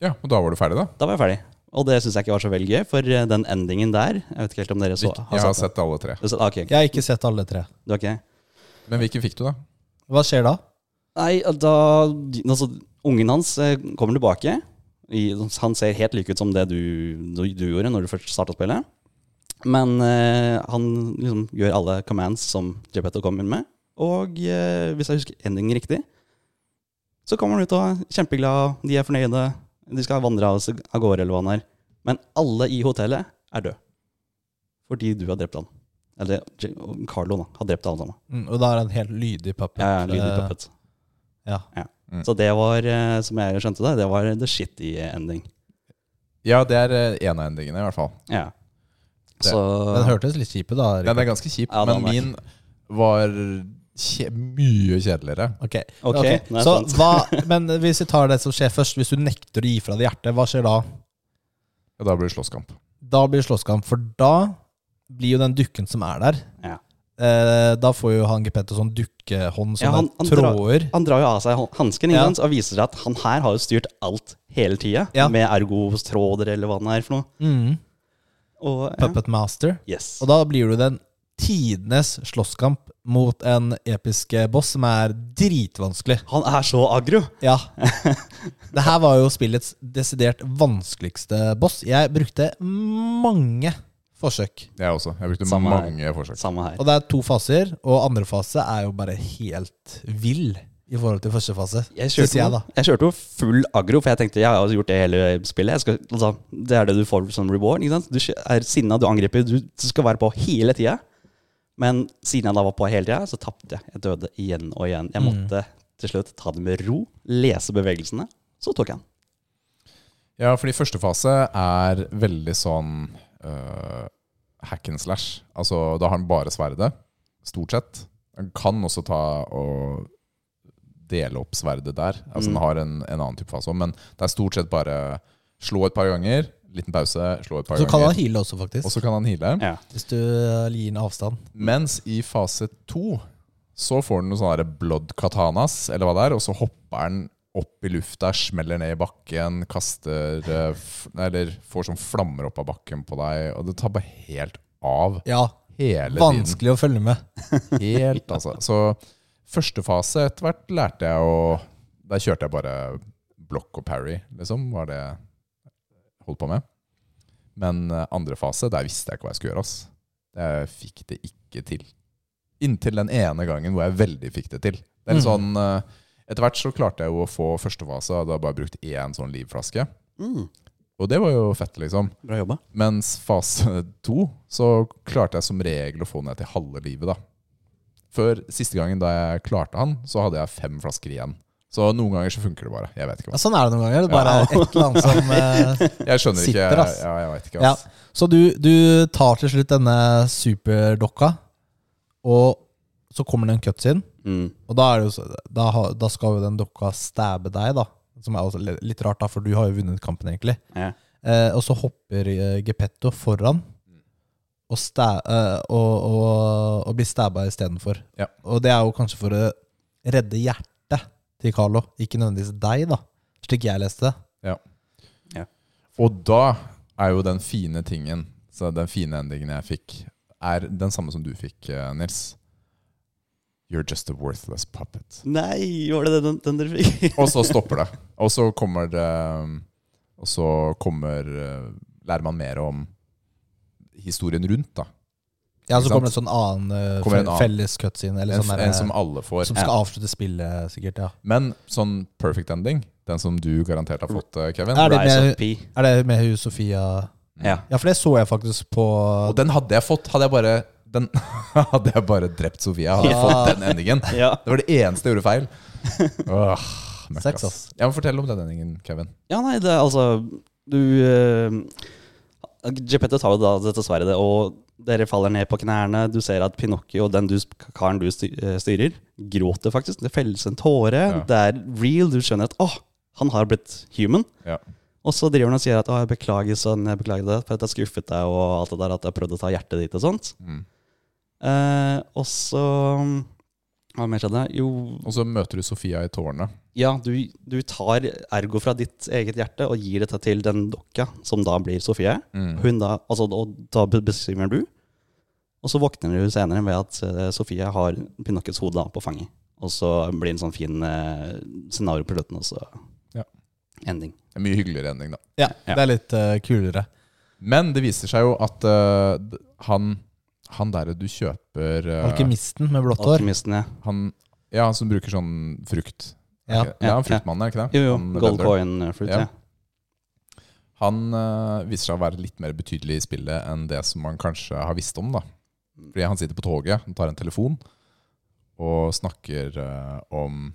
Speaker 2: Ja, Og da var du ferdig, da?
Speaker 3: Da var jeg ferdig. Og det syns jeg ikke var så veldig gøy, for eh, den endingen der Jeg vet ikke helt om dere så,
Speaker 2: Jeg har
Speaker 3: den.
Speaker 2: sett alle tre.
Speaker 3: Du har sett- ah, ok,
Speaker 1: Jeg har ikke sett alle tre.
Speaker 3: du har ikke det?
Speaker 2: Men hvilken fikk du, da?
Speaker 1: Hva skjer da?
Speaker 3: Nei, da altså, Ungen hans eh, kommer tilbake. I, han ser helt like ut som det du, du, du gjorde når du først starta spillet. Men eh, han liksom gjør alle commands som Jepetto kommer med. Og eh, hvis jeg husker endingen riktig, så kommer han ut og er kjempeglad. De er fornøyde. De skal vandre av, seg- av gårde, eller hva han er. Men alle i hotellet er døde. Fordi du har drept han. Eller Je- Carlo da, har drept alle sammen.
Speaker 1: Mm, og da er det en helt lydig puppet.
Speaker 3: Jeg er lydig
Speaker 1: eh,
Speaker 3: puppet.
Speaker 1: ja.
Speaker 2: Mm.
Speaker 3: Så det var, eh, som jeg skjønte det, det var the shitty ending.
Speaker 2: Ja, det er eh, en av endingene, i hvert fall.
Speaker 3: Ja.
Speaker 2: Det-
Speaker 3: Så
Speaker 1: Eh, Den hørtes litt kjip ut, da.
Speaker 2: Den
Speaker 1: Erik.
Speaker 2: er ganske kjip,
Speaker 3: Ja, den
Speaker 2: men
Speaker 3: er-
Speaker 2: min var kje, mye kjedeligere.
Speaker 1: Ok.
Speaker 3: Ok,
Speaker 1: Ok.
Speaker 3: nå er jeg
Speaker 1: Så
Speaker 3: spent.
Speaker 1: hva,
Speaker 3: [LAUGHS]
Speaker 1: men hvis vi tar det som skjer først, hvis du nekter å gi fra deg hjertet, hva skjer da?
Speaker 2: Ja, da blir det slåsskamp.
Speaker 1: Da blir det slåsskamp, for da blir jo den dukken som er der
Speaker 3: Ja.
Speaker 1: eh, Da får jo han G. Petter sånn dukkehånd som
Speaker 3: Ja, han- han
Speaker 1: en tråder.
Speaker 3: Han drar jo av seg hansken
Speaker 1: Ja.
Speaker 3: og viser seg at han her har jo styrt alt hele tida.
Speaker 1: Ja.
Speaker 3: Med ergotråder eller hva det er for noe.
Speaker 1: Mm.
Speaker 3: Og, ja.
Speaker 1: Puppet Master.
Speaker 3: Yes.
Speaker 1: Og da blir det den tidenes slåsskamp mot en episk boss som er dritvanskelig.
Speaker 3: han er så aggro! [LAUGHS]
Speaker 1: Ja. Det her var jo spillets desidert vanskeligste boss. Jeg brukte mange forsøk.
Speaker 2: Jeg også. Jeg brukte
Speaker 3: Samme her.
Speaker 2: mange forsøk.
Speaker 3: Samme her.
Speaker 1: Og det er to faser, og andre fase er jo bare helt vill i forhold til første fase.
Speaker 3: Jeg
Speaker 1: synes
Speaker 3: kjørte,
Speaker 1: jeg,
Speaker 3: jo-
Speaker 1: da.
Speaker 3: jeg kjørte jo full aggro, for jeg tenkte jeg har jo gjort det hele spillet. Jeg skal, altså, det er det du får som reward. Ikke sant? Du skj- er sinna, du angriper, du, du skal være på hele tida. Men siden jeg da var på hele tida, så tapte jeg. Jeg døde igjen og igjen.
Speaker 1: Mm.
Speaker 3: Jeg måtte til slutt ta det med ro, lese bevegelsene. Så tok jeg den.
Speaker 2: Ja, fordi første fase er veldig sånn øh, hack and slash. Altså, da har han bare sverdet, stort sett. Han kan også ta og dele opp sverdet der. Altså,
Speaker 3: Mm.
Speaker 2: Han har en, en annen type fase òg, men det er stort sett bare slå et par ganger, liten pause, slå et par
Speaker 1: Så kan han
Speaker 2: ganger,
Speaker 1: heale også, faktisk.
Speaker 2: og så kan han heale.
Speaker 3: Ja.
Speaker 1: Hvis du eh, gir en avstand.
Speaker 2: Mens i fase to så får den noen sånne der blood katanas, eller hva det er, og så hopper den opp i lufta, smeller ned i bakken, kaster eh, f Eller får sånn flammer opp av bakken på deg, og det tar bare helt av
Speaker 1: Ja,
Speaker 2: hele tiden.
Speaker 1: vanskelig å følge med.
Speaker 2: Helt, altså. Så første fase etter hvert lærte jeg å Der kjørte jeg bare block og parry, liksom, var det jeg holdt på med. Men eh, andre fase, der visste jeg ikke hva jeg skulle gjøre, ass. Jeg fikk det ikke til. Inntil den ene gangen hvor jeg veldig fikk det til. Det er litt sånn eh, Etter hvert så klarte jeg jo å få første fase, og da hadde jeg bare brukt én sånn livflaske.
Speaker 3: Mm,
Speaker 2: Og det var jo fett, liksom.
Speaker 3: bra jobba.
Speaker 2: Mens fase to så klarte jeg som regel å få ned til halve livet, da. Før siste gangen da jeg klarte han, så hadde jeg fem flasker igjen. Så noen ganger så funker det bare. Jeg vet ikke
Speaker 1: Ja,
Speaker 2: hva.
Speaker 1: sånn er det noen ganger. Det bare er et eller annet som eh,
Speaker 2: Jeg skjønner [LAUGHS] ikke.
Speaker 1: Sitter, ass.
Speaker 2: Ja, jeg vet ikke,
Speaker 1: Ja.
Speaker 2: ass.
Speaker 1: Så du, du tar til slutt denne superdokka, og så kommer det en cutscene.
Speaker 3: Mm.
Speaker 1: Og da, er det jo, så- da, har- da skal jo den dokka stabbe deg, da. Som er også li- litt rart, da, for du har jo vunnet kampen, egentlig.
Speaker 3: Ja.
Speaker 1: Eh, og så hopper eh, Gepetto foran og, sta eh, og, og, og blir stabba istedenfor.
Speaker 2: Ja.
Speaker 1: Og det er jo kanskje for å redde hjertet til Carlo, ikke nødvendigvis deg, da. Slik jeg leste det.
Speaker 2: Og da er jo den fine tingen, så den fine endingen jeg fikk, er den samme som du fikk, eh, Nils. You're just a worthless puppet.
Speaker 3: Nei, var det den, den dere fikk?
Speaker 2: Og så stopper det. Og så kommer det Og så kommer eh, Lærer man mer om historien rundt, da.
Speaker 1: Ja, så
Speaker 2: Ikke
Speaker 1: kommer det en sånn annen eh,
Speaker 2: Kommer
Speaker 1: fe-
Speaker 2: en annen.
Speaker 1: felles cutscene, eller
Speaker 2: En,
Speaker 1: sånn
Speaker 2: en
Speaker 1: derre-
Speaker 2: som alle får.
Speaker 1: som skal avslutte spillet, sikkert. ja
Speaker 2: Men sånn perfect ending, den som du garantert har fått, eh,
Speaker 1: [LAUGHS]
Speaker 2: Kevin
Speaker 1: Er det
Speaker 3: Rise
Speaker 1: med-
Speaker 3: of P.
Speaker 1: Er det med hun Sofia
Speaker 3: Ja.
Speaker 1: Ja, for det så jeg faktisk på
Speaker 2: Og den hadde jeg fått, hadde jeg bare den [LAUGHS] Hadde jeg bare drept Sofia, hadde jeg
Speaker 1: Ja.
Speaker 2: fått den endingen.
Speaker 3: Ja.
Speaker 2: Det var det eneste jeg
Speaker 1: [LAUGHS]
Speaker 2: gjorde feil. Åh, møkk,
Speaker 1: Sex,
Speaker 2: ass. Ja, men fortell om den endingen, Kevin.
Speaker 3: Ja, nei, det er altså Du uh, Geppetto tar jo da dette sverdet, og dere faller ned på knærne. Du ser at Pinocchio, den du, karen du sty- eh, styrer, gråter faktisk. Det felles en tåre.
Speaker 2: Ja.
Speaker 3: Det er real. Du skjønner at åh, han har blitt human.
Speaker 2: Ja.
Speaker 3: Og så driver han og sier at åh, jeg beklager sånn, jeg beklager det, for at jeg skuffet deg og alt det der, at jeg prøvde å ta hjertet ditt og sånt.
Speaker 2: Mm.
Speaker 3: Eh, og så Hva mer skjedde? Jo,
Speaker 2: Og så møter du Sofia i tårnet.
Speaker 3: ja, du, du tar ergo fra ditt eget hjerte og gir dette til den dokka, som da blir Sofie.
Speaker 2: Mm.
Speaker 3: Hun da, altså, og da be- besvimer du. Og så våkner du senere ved at eh, Sofie har Pinocchios hode da på fanget. Og så blir det en sånn fin eh, scenario på slutten, og så
Speaker 2: Ja.
Speaker 3: ending.
Speaker 2: En mye hyggeligere ending, da.
Speaker 1: Ja,
Speaker 3: Ja.
Speaker 1: det er litt eh, kulere.
Speaker 2: Men det viser seg jo at eh, d- han Han derre du kjøper eh,
Speaker 1: Alkymisten med blått hår.
Speaker 3: Alkymisten, ja.
Speaker 2: han, Ja, han som bruker sånn frukt. Er
Speaker 1: Ja.
Speaker 2: ikke det? ja, han
Speaker 3: Ja, ja.
Speaker 2: fruktmannen, er ikke det?
Speaker 3: Jo, jo.
Speaker 2: Han
Speaker 3: Gold
Speaker 2: venderen.
Speaker 3: coin eh, fruit,
Speaker 2: Ja.
Speaker 3: ja.
Speaker 2: Han eh, viser seg å være litt mer betydelig i spillet enn det som man kanskje har visst om. da. Fordi han sitter på toget, han tar en telefon og snakker eh, om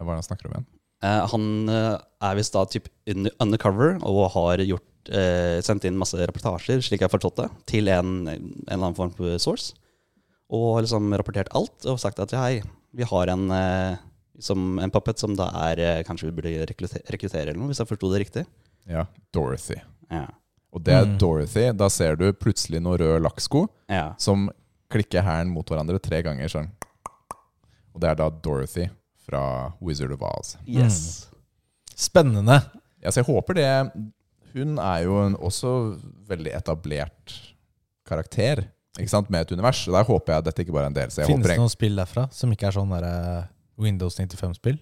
Speaker 2: Hva er det han snakker om igjen?
Speaker 3: Eh, han eh, er visst da typ under, undercover og har gjort, eh, sendt inn masse reportasjer, slik jeg har forstått det, til en, en eller annen form for source. Og har liksom rapportert alt og sagt at hei, vi har en, eh, som, en puppet som da er eh, Kanskje vi burde rekrute- rekruttere eller noe, hvis jeg forsto det riktig.
Speaker 2: Ja, Dorothy.
Speaker 3: Ja.
Speaker 2: Og det er
Speaker 1: Mm.
Speaker 2: Dorothy. Da ser du plutselig noen røde lakksko
Speaker 3: ja.
Speaker 2: som klikker hælen mot hverandre tre ganger. sånn. Og det er da Dorothy fra Wizard of Oz.
Speaker 3: Yes.
Speaker 1: Spennende.
Speaker 2: Ja, så jeg håper det Hun er jo en også veldig etablert karakter ikke sant? med et univers. Og der håper jeg at dette ikke bare er en del. Så jeg
Speaker 1: Finnes
Speaker 2: håper
Speaker 1: det noen spill derfra som ikke er sånn der, eh, Windows 95-spill?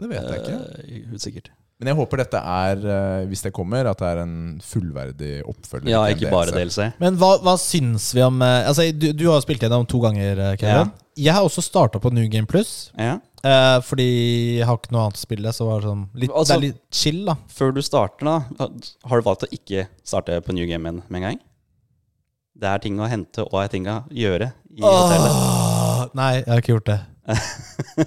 Speaker 2: Det vet jeg ikke.
Speaker 3: Eh, usikkert.
Speaker 2: Men jeg håper dette er, eh, hvis det kommer, at det er en fullverdig oppfølger.
Speaker 3: Ja,
Speaker 2: til en
Speaker 3: ikke bare
Speaker 2: DLC.
Speaker 3: DLC.
Speaker 1: Men hva, hva syns vi om eh, Altså, du, du har spilt gjennom to ganger, eh, Kevin. Jeg har også starta på New Game Plus,
Speaker 3: Ja.
Speaker 1: eh, fordi jeg har ikke noe annet å spille. Så var det, sånn litt, det
Speaker 3: Altså-
Speaker 1: er litt chill, da.
Speaker 3: Før du starter, da, har du valgt å ikke starte på New Game med en gang? Det er ting å hente og er ting å gjøre i hotellet.
Speaker 1: Åh, nei, jeg har ikke gjort
Speaker 3: [LAUGHS]
Speaker 1: det.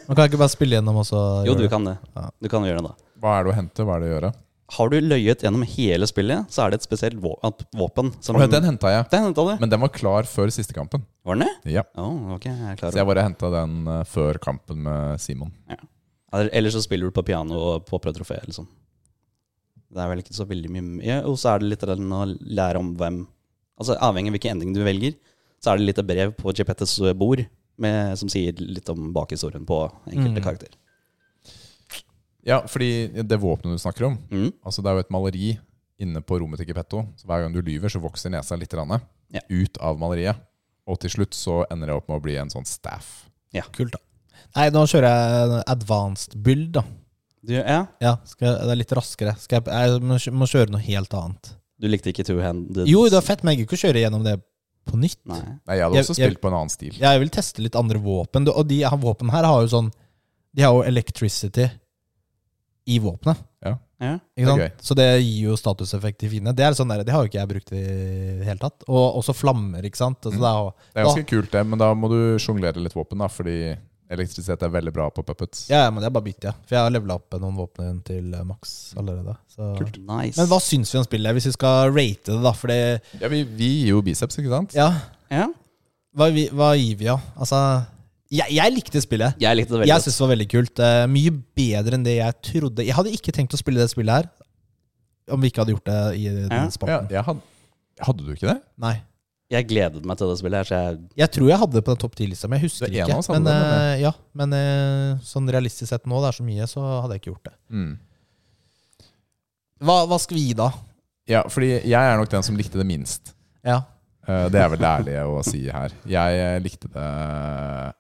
Speaker 1: Man kan ikke bare spille gjennom og så
Speaker 3: Jo,
Speaker 1: gjøre
Speaker 3: du
Speaker 1: det?
Speaker 3: kan det.
Speaker 1: Ja.
Speaker 3: Du kan gjøre det da.
Speaker 2: Hva er det å hente? Hva er det å gjøre?
Speaker 3: Har du løyet gjennom hele spillet, så er det et spesielt vå at våpen. Som
Speaker 2: Å, ja, den henta jeg.
Speaker 3: Den henta du.
Speaker 2: Men den var klar før siste kampen.
Speaker 3: Var den det?
Speaker 2: Ja.
Speaker 3: Å, ok, jeg er klar.
Speaker 2: Så jeg bare henta den eh, før kampen med Simon.
Speaker 3: Eller- Eller så spiller du på piano og påprøver trofeet, liksom. Det er vel ikke så veldig mye mer. Og så er det litt den å lære om hvem Altså Avhengig av hvilken ending du velger, så er det litt brev på Gepettos bord med, som sier litt om bakhistorien på enkelte
Speaker 1: Mm.
Speaker 3: karakterer.
Speaker 2: Ja, fordi det våpenet du snakker om,
Speaker 3: Mm.
Speaker 2: altså det er jo et maleri inne på rommet til Gepetto. Så hver gang du lyver, så vokser nesa litt grann,
Speaker 3: Ja.
Speaker 2: ut av maleriet. Og til slutt så ender jeg opp med å bli en sånn staff.
Speaker 1: Kult, da. Nei, nå kjører jeg advanced build, da.
Speaker 3: Du, ja,
Speaker 1: Ja, skal, jeg- det er litt raskere. Skal jeg, jeg må kjø- må kjøre noe helt annet.
Speaker 3: du likte ikke two-handed
Speaker 1: Jo, det er fett, men jeg gidder ikke å kjøre gjennom det på nytt.
Speaker 3: Nei.
Speaker 2: Nei, jeg hadde
Speaker 1: Jeg-
Speaker 2: også
Speaker 1: jeg-
Speaker 2: spilt på en annen stil.
Speaker 1: Jeg vil teste litt andre våpen. Du- Og de her våpen her har jo sånn De har jo electricity i våpenet.
Speaker 3: Ja.
Speaker 1: Ikke sant?
Speaker 2: Det er
Speaker 1: Så det gir jo statuseffekt til fiendene. Det, er sånn der, det har jo ikke jeg brukt i det hele tatt. Og også flammer, ikke sant. Altså,
Speaker 2: Mm.
Speaker 1: det er jo,
Speaker 2: Det er ganske kult, det, men da må du sjonglere litt våpen, da, fordi elektrisitet er veldig bra på puppets.
Speaker 1: ja, ja, men jeg bare bytter, ja. For jeg har levela opp noen våpen til eh, maks allerede. Så.
Speaker 3: Nice.
Speaker 1: Men hva syns vi om spillet, hvis vi skal rate det, da? For det
Speaker 2: Ja, vi, vi gir jo biceps, ikke sant?
Speaker 1: Ja,
Speaker 3: Ja.
Speaker 1: hva, vi- hva gir vi, da? Altså jeg, jeg likte spillet.
Speaker 3: Jeg likte det veldig
Speaker 1: Jeg
Speaker 3: godt.
Speaker 1: syns det var veldig kult. Eh, mye bedre enn det jeg trodde. Jeg hadde ikke tenkt å spille det spillet her om vi ikke hadde gjort det i den
Speaker 3: Ja.
Speaker 2: Ja,
Speaker 1: spalten.
Speaker 2: jeg hadde, hadde du ikke det?
Speaker 1: Nei.
Speaker 3: Jeg gledet meg til det spillet, her, så jeg
Speaker 1: Jeg tror jeg hadde det på den topp 10-lista, men jeg husker
Speaker 2: Det er en av oss
Speaker 1: ikke.
Speaker 2: hadde
Speaker 1: Men,
Speaker 2: det, men
Speaker 1: eh, ja, men eh, sånn realistisk sett nå, det er så mye, så hadde jeg ikke gjort det.
Speaker 2: Mm.
Speaker 1: Hva, hva skal vi gi da?
Speaker 2: Ja, fordi jeg er nok den som likte det minst.
Speaker 1: Ja.
Speaker 2: Eh, Det er vel det ærlige å si her. Jeg eh, likte det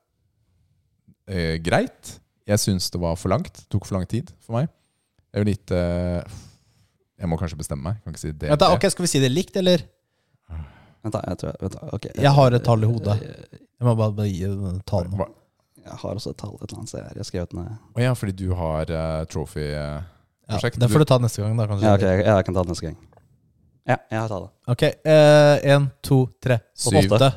Speaker 2: eh, greit. Jeg syns det var for langt. Tok for lang tid for meg. Jeg vil ikke eh, Jeg må kanskje bestemme meg. Jeg Kan ikke si det.
Speaker 1: Vent da, ok, Skal vi si det likt, eller?
Speaker 3: Vent, da. Jeg, tror jeg, vent da. ok.
Speaker 1: Jeg har et tall i hodet. Jeg må bare, bare gi eh, tall nå.
Speaker 2: Hva-
Speaker 3: Jeg har også et tall et eller annet sted her. Jeg skrev det ned.
Speaker 2: Å ja, fordi du har eh, trophy eh,
Speaker 1: Ja,
Speaker 2: Prosjekt,
Speaker 1: den
Speaker 2: du-
Speaker 1: får du ta neste gang, da. kanskje.
Speaker 3: Ja, ok, jeg, jeg kan ta det neste gang. Ja, jeg har tallet.
Speaker 1: Ok, én, to, tre,
Speaker 2: Syv.
Speaker 1: åtte.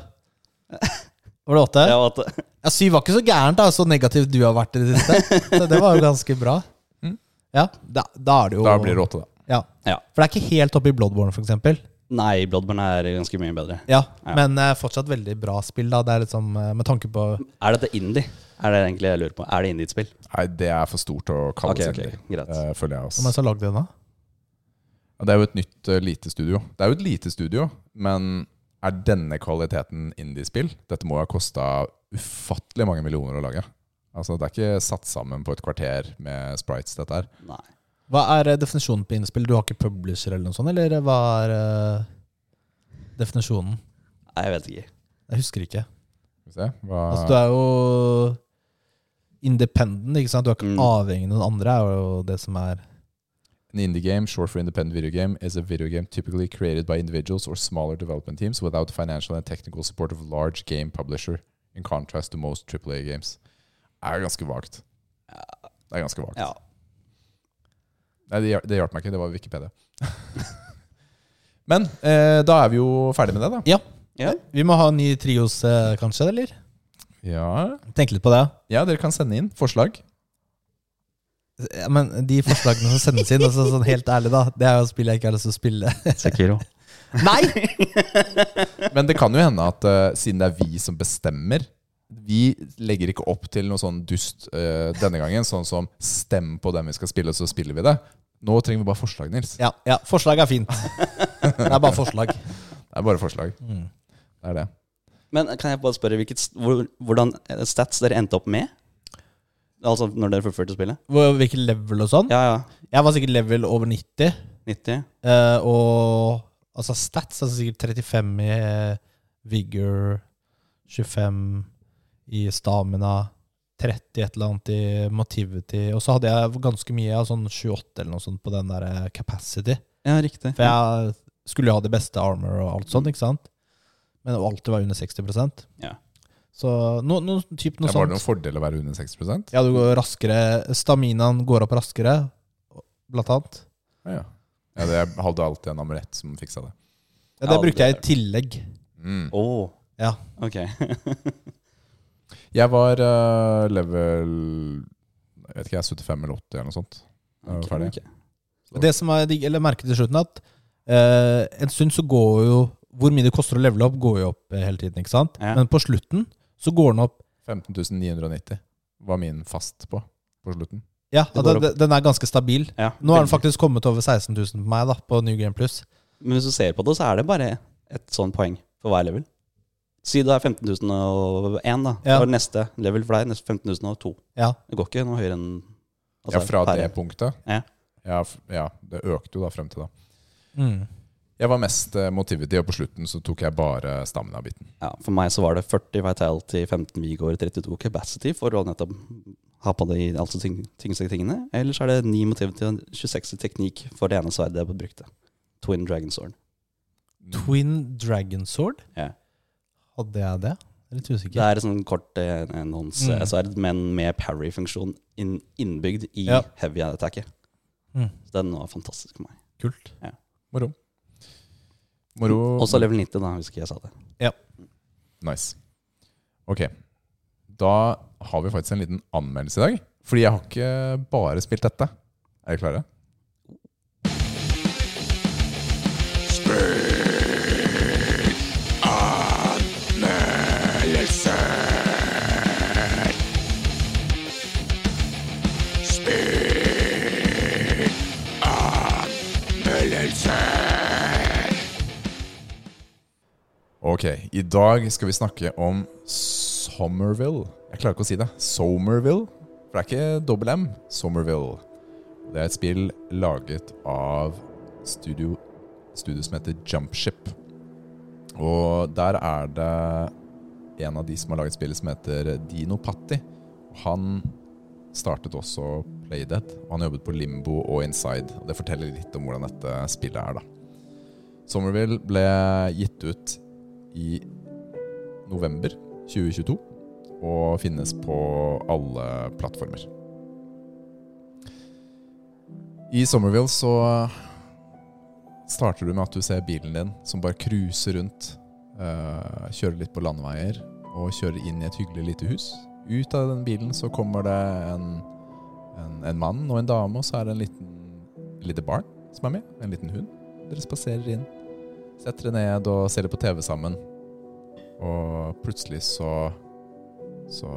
Speaker 1: Var det åtte?
Speaker 3: Jeg var åtte.
Speaker 1: Ja, Syv var ikke så gærent, da, så negativ du har vært i det siste. Så det var jo ganske bra.
Speaker 2: Mm.
Speaker 1: Ja, da, da er det jo
Speaker 2: Da blir det åtte, da.
Speaker 1: Ja.
Speaker 3: Ja.
Speaker 1: For det er ikke helt oppe i Bloodborne, for eksempel.
Speaker 3: Nei, Bloodborne er ganske mye bedre.
Speaker 1: Ja,
Speaker 3: Ja.
Speaker 1: Men eh, fortsatt veldig bra spill, da. Det er litt sånn, eh, med tanke på
Speaker 3: Er dette indie? Er det egentlig jeg lurer på? Er det indie-spill?
Speaker 2: Nei, det er for stort å kalle
Speaker 3: Ok,
Speaker 2: det
Speaker 3: ok,
Speaker 2: selv.
Speaker 3: greit.
Speaker 2: eh, føler jeg
Speaker 1: Hvem er det
Speaker 2: også.
Speaker 1: som har lagd den, da?
Speaker 2: Ja, Det er jo et nytt eh, lite studio. Det er jo et lite studio, men er denne kvaliteten indiespill? Dette må ha kosta ufattelig mange millioner å lage. Altså, Det er ikke satt sammen på et kvarter med sprites, dette her.
Speaker 3: Nei.
Speaker 1: Hva er eh, definisjonen på innspill? Du har ikke publisher eller noe sånt, eller hva er eh, definisjonen?
Speaker 3: Nei, jeg vet ikke.
Speaker 1: Jeg husker ikke.
Speaker 2: Skal vi se. Hva,
Speaker 1: Altså, du er jo independent, ikke sant? Du er ikke
Speaker 3: Mm.
Speaker 1: avhengig av noen andre, er jo det som er
Speaker 2: An indie game, short for independent video game, is a video game typically created by individuals or smaller development teams without financial and technical support of large game publisher, in contrast to most AAA games. Det er ganske vagt. Det er ganske vagt.
Speaker 1: [LAUGHS]
Speaker 3: Ja.
Speaker 2: Nei, det, hjel- det hjalp meg ikke. Det var Wikipedia. [LAUGHS] Men eh, da er vi jo ferdig med det, da.
Speaker 3: ja.
Speaker 1: Vi må ha en ny trios, eh, kanskje, eller?
Speaker 2: Ja,
Speaker 1: Tenk litt på det.
Speaker 2: ja dere kan sende inn forslag.
Speaker 1: Ja, Men de forslagene som sendes inn, altså sånn helt ærlig, da det er jo spill jeg ikke har lyst til å spille.
Speaker 3: Sekiro.
Speaker 1: Nei!
Speaker 2: Men det kan jo hende at eh, siden det er vi som bestemmer Vi legger ikke opp til noe sånn dust eh, denne gangen, sånn som stem på dem vi skal spille, og så spiller vi det. Nå trenger vi bare forslag, Nils.
Speaker 1: [LAUGHS] Ja, ja forslag er fint. Det er bare forslag. Mm.
Speaker 2: Det er bare forslag. Det er det.
Speaker 3: Men kan jeg bare spørre hvilket, st- hvor, hvordan eh, stats dere endte opp med? Altså når dere fullførte spillet?
Speaker 1: Hvor- Hvilken level og sånn?
Speaker 3: Ja, ja.
Speaker 1: Jeg var sikkert level over 90.
Speaker 3: 90.
Speaker 1: eh, og altså stats altså sikkert 35 i eh, vigor, 25 i stamina, 30 et eller annet i motivity. Og så hadde jeg ganske mye, ja, sånn 28 eller noe sånt, på den der eh, capacity.
Speaker 3: Ja, riktig.
Speaker 1: For jeg skulle jo ha det beste armor og alt sånt, ikke sant? Men og alt det var under 60
Speaker 3: Ja.
Speaker 1: Så no, no, typ noe
Speaker 2: Ja, var det noen
Speaker 1: sånt.
Speaker 2: fordel å være under 6 ja.
Speaker 1: Ja, du går raskere. Staminaen går opp raskere, blant annet.
Speaker 2: Ja. Ja, det, jeg hadde alltid en amulett som fiksa det.
Speaker 1: Ja,
Speaker 3: Ja,
Speaker 1: det brukte jeg i
Speaker 3: det-
Speaker 1: tillegg.
Speaker 2: Mm.
Speaker 3: Åh,
Speaker 1: Ja.
Speaker 3: ok. [LAUGHS]
Speaker 2: Jeg var eh, level Jeg vet ikke, jeg er 75 eller 80 eller noe sånt. Jeg var
Speaker 3: Ok,
Speaker 2: ferdig.
Speaker 3: ok.
Speaker 1: Det som jeg digg- eller merket til slutten, at eh, en stund så går jo Hvor mye det koster å levele opp, går jo opp eh, hele tiden, ikke sant?
Speaker 3: Ja.
Speaker 1: Men på slutten så går den opp
Speaker 2: 15 990 var min fast på på slutten.
Speaker 1: Ja,
Speaker 3: Det
Speaker 1: at
Speaker 3: går
Speaker 1: den, den er ganske stabil.
Speaker 3: Ja,
Speaker 1: Nå har den
Speaker 3: veldig.
Speaker 1: faktisk kommet over 16 000 på meg, da, på New Game Plus.
Speaker 3: Men hvis du ser på det, så er det bare et sånn poeng for hver level. Si det er 15.001 da,
Speaker 1: Ja.
Speaker 3: for neste level for deg, neste 15.002.
Speaker 1: Ja.
Speaker 3: Det går ikke noe høyere enn... altså,
Speaker 2: Ja, fra
Speaker 3: per-
Speaker 2: det punktet.
Speaker 3: Ja.
Speaker 2: Ja, f- ja, det økte jo da frem til da.
Speaker 1: Mm.
Speaker 2: Jeg var mest eh, motivity, og på slutten så tok jeg bare stamina-biten.
Speaker 3: Ja, for meg så var det 40 Vitality, 15 Vigor, 32 Capacity for å nettopp ha på de altså tyng, tyngste tingene. Ellers er det 9 Motivity og 26 teknikk for det ene sverdet jeg brukte. Twin Dragon Sword.
Speaker 1: Twin Dragon Sword.
Speaker 3: Ja.
Speaker 1: Hadde jeg det? Jeg er Litt
Speaker 3: Det
Speaker 1: usikker.
Speaker 3: er et sånn kort eh, enhåndssverd, men med parry-funksjon inn, innbygd i
Speaker 1: Ja.
Speaker 3: heavy attacket.
Speaker 1: Mm.
Speaker 3: Så den var fantastisk for meg.
Speaker 1: Kult.
Speaker 2: Moro. Moro.
Speaker 3: Også level 90, da, hvis ikke jeg sa det.
Speaker 2: Nice. Ok. Da har vi faktisk en liten anmeldelse i dag. Fordi jeg har ikke bare spilt dette. Er dere klare? Ok, i dag skal vi snakke om Somerville. Jeg klarer ikke å si det. Somerville. For det er ikke dobbel M. Somerville. Det er et spill laget av studio, studio som heter Jumpship. Og der er det en av de som har laget spillet som heter Dino Patti. Han startet også Playdead, og han har jobbet på Limbo og Inside. Og det forteller litt om hvordan dette spillet er, da. Somerville ble gitt ut i november 2022 og finnes på alle plattformer. I Somerville så starter du med at du ser bilen din som bare cruiser rundt. eh, kjører litt på landeveier og kjører inn i et hyggelig lite hus. Ut av den bilen så kommer det en, en, en mann og en dame, og så er det en liten, et lite barn som er med. En liten hund. Dere spaserer inn setter dere ned og ser litt på TV sammen. Og plutselig så Så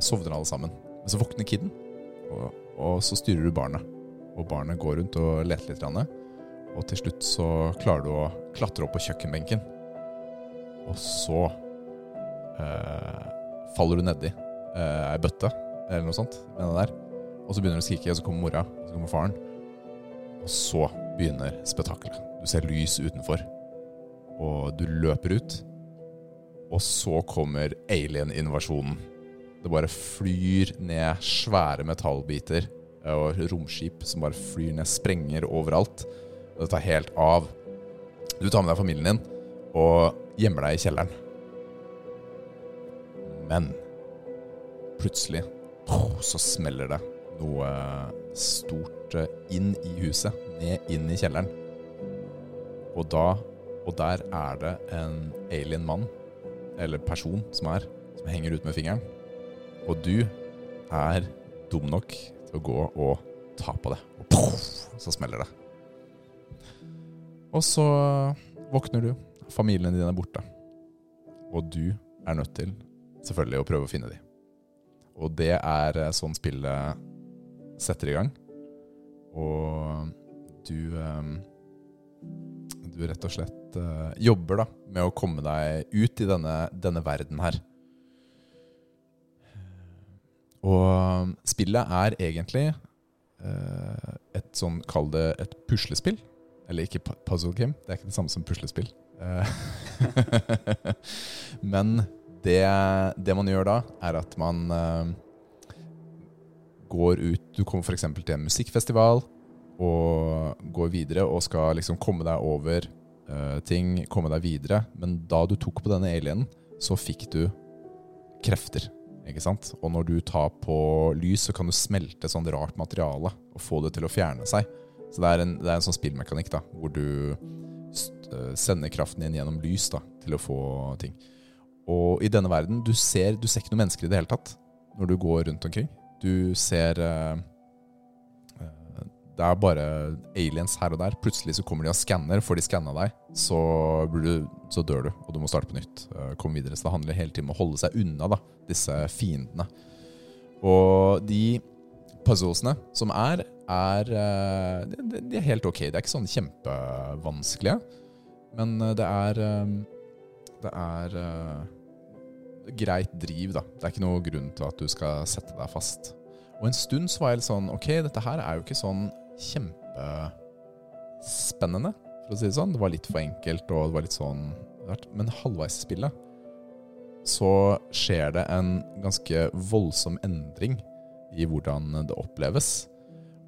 Speaker 2: sovner alle sammen. Men så våkner kiden, og, og så styrer du barnet. Og barnet går rundt og leter litt. grann, Og til slutt så klarer du å klatre opp på kjøkkenbenken. Og så eh, faller du nedi eh, ei bøtte eller noe sånt. med den der. Og så begynner du å skrike, og så kommer mora, og så kommer faren. Og så begynner spetakkelet. Du ser lys utenfor og du løper ut. Og så kommer alien-invasjonen. Det bare flyr ned svære metallbiter eh, og romskip som bare flyr ned, sprenger overalt. Og det tar helt av. Du tar med deg familien din og gjemmer deg i kjelleren. Men plutselig poh, så smeller det noe stort eh, inn i huset, ned inn i kjelleren. Og da og der er det en alien mann, eller person som er, som henger ut med fingeren. Og du er dum nok til å gå og ta på det. Og poff, så smeller det. Og så våkner du, familien din er borte. Og du er nødt til, selvfølgelig, å prøve å finne dem. Og det er eh, sånn spillet setter i gang. Og du eh, Du rett og slett eh, jobber da med å komme deg ut i denne, denne verden her. Og eh, spillet er egentlig eh, et sånn, kall det et puslespill. Eller ikke pu- puzzle game, det er ikke det samme som puslespill. Eh, [LAUGHS] Men det, det man gjør da, er at man eh, går ut Du kommer f.eks. til en musikkfestival og går videre og skal liksom komme deg over eh, ting, komme deg videre. Men da du tok på denne alienen, så fikk du krefter. Ikke sant? Og når du tar på lys, så kan du smelte sånn rart materiale og få det til å fjerne seg. Så det er en, det er en sånn spillmekanikk da, hvor du st- eh, sender kraften din gjennom lys da, til å få ting. Og i denne verden, du ser, du ser ikke noen mennesker i det hele tatt når du går rundt omkring. Du ser eh, eh, Det er bare aliens her og der. Plutselig så kommer de og skanner. Får de skanna deg, så, blir du, så dør du, og du må starte på nytt. eh, Komme videre. Så det handler hele tiden om å holde seg unna da, disse fiendene. Og de puzzlesene som er, er eh, de- de, de er helt ok. De er ikke sånn kjempevanskelige. Men eh, det er eh, Det er eh, greit driv, da. Det er ikke noe grunn til at du skal sette deg fast. Og en stund så var jeg litt sånn Ok, dette her er jo ikke sånn kjempespennende, for å si det sånn. Det var litt for enkelt, og det var litt sånn rart. Men halvveis i spillet så skjer det en ganske voldsom endring i hvordan det oppleves.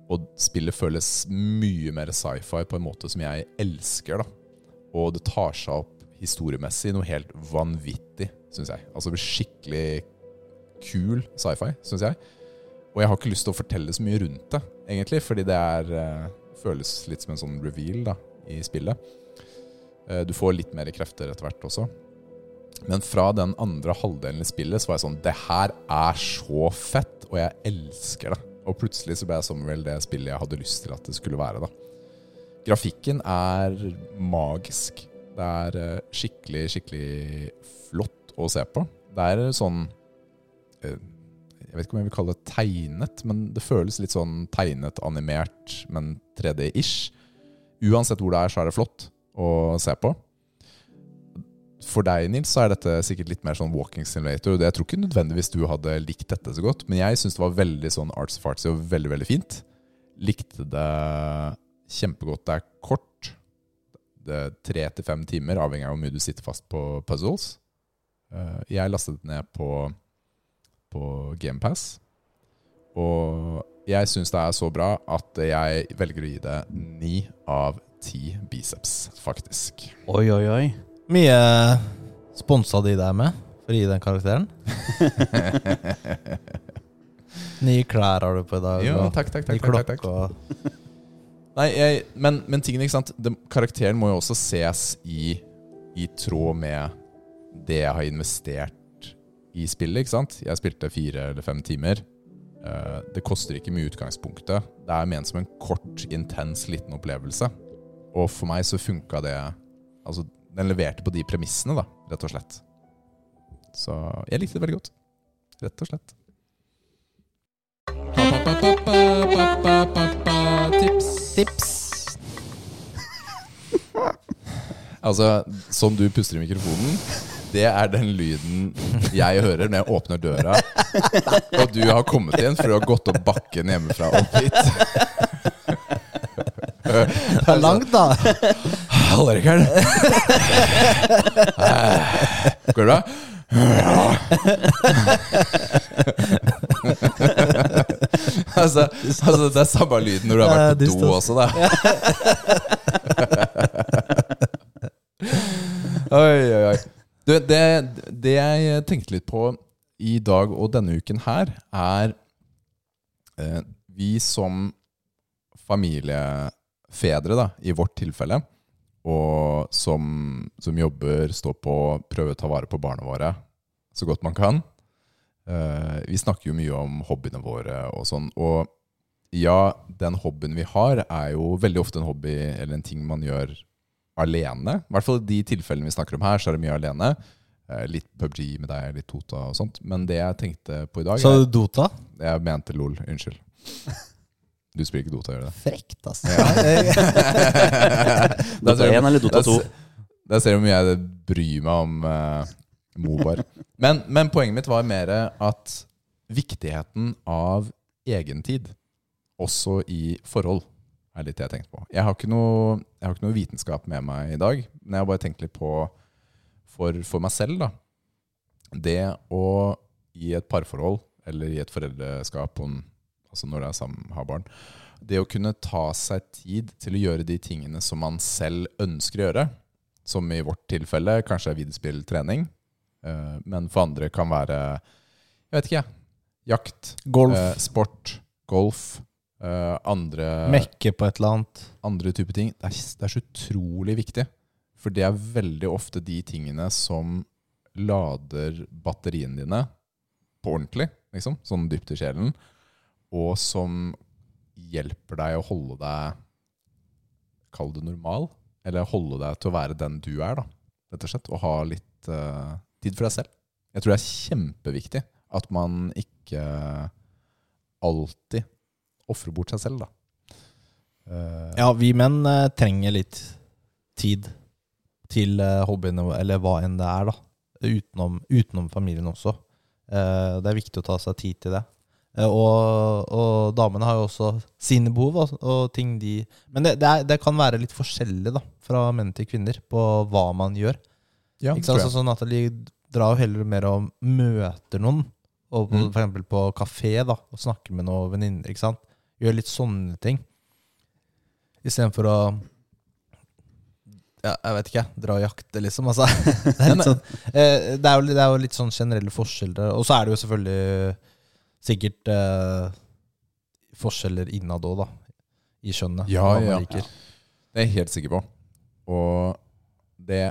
Speaker 2: Og spillet føles mye mer sci-fi på en måte som jeg elsker. da. Og det tar seg opp historiemessig noe helt vanvittig, syns jeg. Altså det blir skikkelig kul sci-fi, syns jeg. Og jeg har ikke lyst til å fortelle så mye rundt det, egentlig, fordi det er, eh, føles litt som en sånn reveal da, i spillet. Eh, Du får litt mer krefter etter hvert også. Men fra den andre halvdelen i spillet så var jeg sånn Det her er så fett, og jeg elsker det. Og plutselig så ble Summerwell det spillet jeg hadde lyst til at det skulle være. da Grafikken er magisk. Det er eh, skikkelig, skikkelig flott å se på. Det er sånn eh, Jeg vet ikke om jeg vil kalle det tegnet, men det føles litt sånn tegnet, animert, men 3D-ish. Uansett hvor det er, så er det flott å se på for deg, Nils, så er dette sikkert litt mer sånn walking simulator. og det- Jeg tror ikke nødvendigvis du hadde likt dette så godt, men jeg syns det var veldig sånn arts of artsy og veldig, veldig fint. Likte det kjempegodt. Det er kort. Det er tre til fem timer, avhengig av hvor mye du sitter fast på puzzles. Eh, Jeg lastet det ned på, på GamePass, og jeg syns det er så bra at jeg velger å gi det ni av ti biceps, faktisk. [LAUGHS]
Speaker 3: Oi, oi, oi.
Speaker 1: Mye sponsa de der med for å gi den karakteren. Nye klær har du på i dag.
Speaker 2: Ja,
Speaker 1: og
Speaker 2: takk, takk,
Speaker 1: ny
Speaker 2: takk, takk, takk,
Speaker 1: klokke og-
Speaker 2: Nei, jeg, men, men tingene, ikke sant det, Karakteren må jo også ses i, i tråd med det jeg har investert i spillet, ikke sant? Jeg spilte fire eller fem timer. Eh, det koster ikke mye i utgangspunktet. Det er ment som en kort, intens liten opplevelse. Og for meg så funka det Altså, den leverte på de premissene, da, rett og slett. Så jeg likte det veldig godt. Rett og slett. Tips. Altså, som du puster i mikrofonen, det er den lyden jeg hører når jeg åpner døra, og du har kommet inn for du har gått opp bakken hjemmefra opp hit.
Speaker 1: Det er langt, da.
Speaker 2: Hallo, Rikard. Går det bra? Ja. altså, [LAUGHS] altså, det er samme lyden når du har
Speaker 1: Ja,
Speaker 2: vært på do
Speaker 1: distans.
Speaker 2: også, da. [LAUGHS] oi, oi, oi. Du, det, det jeg tenkte litt på i dag og denne uken her, er eh, vi som familiefedre, da, i vårt tilfelle, og som, som jobber, står på, prøver å ta vare på barna våre så godt man kan. Eh, vi snakker jo mye om hobbyene våre og sånn. Og ja, den hobbyen vi har, er jo veldig ofte en hobby eller en ting man gjør alene. I hvert fall i de tilfellene vi snakker om her, så er det mye alene. Eh, Litt PubG med deg, litt Tota og sånt. Men det jeg tenkte på i dag
Speaker 1: Sa
Speaker 2: jeg,
Speaker 1: du Dota?
Speaker 2: jeg mente LOL. Unnskyld. Du spiller ikke Dota, gjør du det?
Speaker 1: Frekt, altså.
Speaker 2: Der
Speaker 3: Dota
Speaker 2: ser du-
Speaker 3: 1 eller Dota
Speaker 2: der
Speaker 3: 2?
Speaker 2: ser- Der ser du hvor mye jeg bryr meg om eh, Mobar. Men, men poenget mitt var mer at viktigheten av egentid, også i forhold, er litt det jeg tenkte på. Jeg har, ikke noe, jeg har ikke noe vitenskap med meg i dag, men jeg har bare tenkt litt på for, for meg selv, da. Det å i et parforhold, eller i et foreldreskap, om, altså når det er sammen, har barn, det å kunne ta seg tid til å gjøre de tingene som man selv ønsker å gjøre, som i vårt tilfelle kanskje er videospill trening, eh, men for andre kan være jeg vet ikke, jeg, jakt, eh,
Speaker 1: Golf.
Speaker 2: sport, golf, eh, andre
Speaker 1: Mekke på et eller annet.
Speaker 2: andre typer ting. Det er, det er så utrolig viktig. For det er veldig ofte de tingene som lader batteriene dine på ordentlig, liksom, sånn dypt i sjelen, og som hjelper deg å holde deg Kall det normal, eller holde deg til å være den du er, da, rett og slett. Og ha litt eh, tid for deg selv. Jeg tror det er kjempeviktig at man ikke alltid ofrer bort seg selv, da. Eh,
Speaker 1: Ja, vi menn eh, trenger litt tid til eh, hobbyene, våre, eller hva enn det er, da. Utenom, utenom familien også. Eh, det er viktig å ta seg tid til det. Eh, og, og damene har jo også sine behov og, og ting de Men det, det, er, det kan være litt forskjellig da, fra menn til kvinner på hva man gjør.
Speaker 2: Ja,
Speaker 1: Ikke
Speaker 2: tror
Speaker 1: sant?
Speaker 2: jeg.
Speaker 1: Så, så Natalie drar jo heller mer og møter noen, og på,
Speaker 2: Mm.
Speaker 1: for eksempel på kafé, da, og snakker med noen venninner. ikke sant? Gjør litt sånne ting. Istedenfor å ja, Jeg vet ikke, jeg. dra og jakte, liksom.
Speaker 2: [LAUGHS]
Speaker 1: Altså. Det, er litt sånn, eh, det, er jo, det er jo litt sånn generelle forskjeller. Og så er det jo selvfølgelig sikkert eh, forskjeller innad òg, da. I skjønnet.
Speaker 2: Ja,
Speaker 1: hva man
Speaker 2: ja.
Speaker 1: liker.
Speaker 2: Det er jeg helt sikker på. Og det,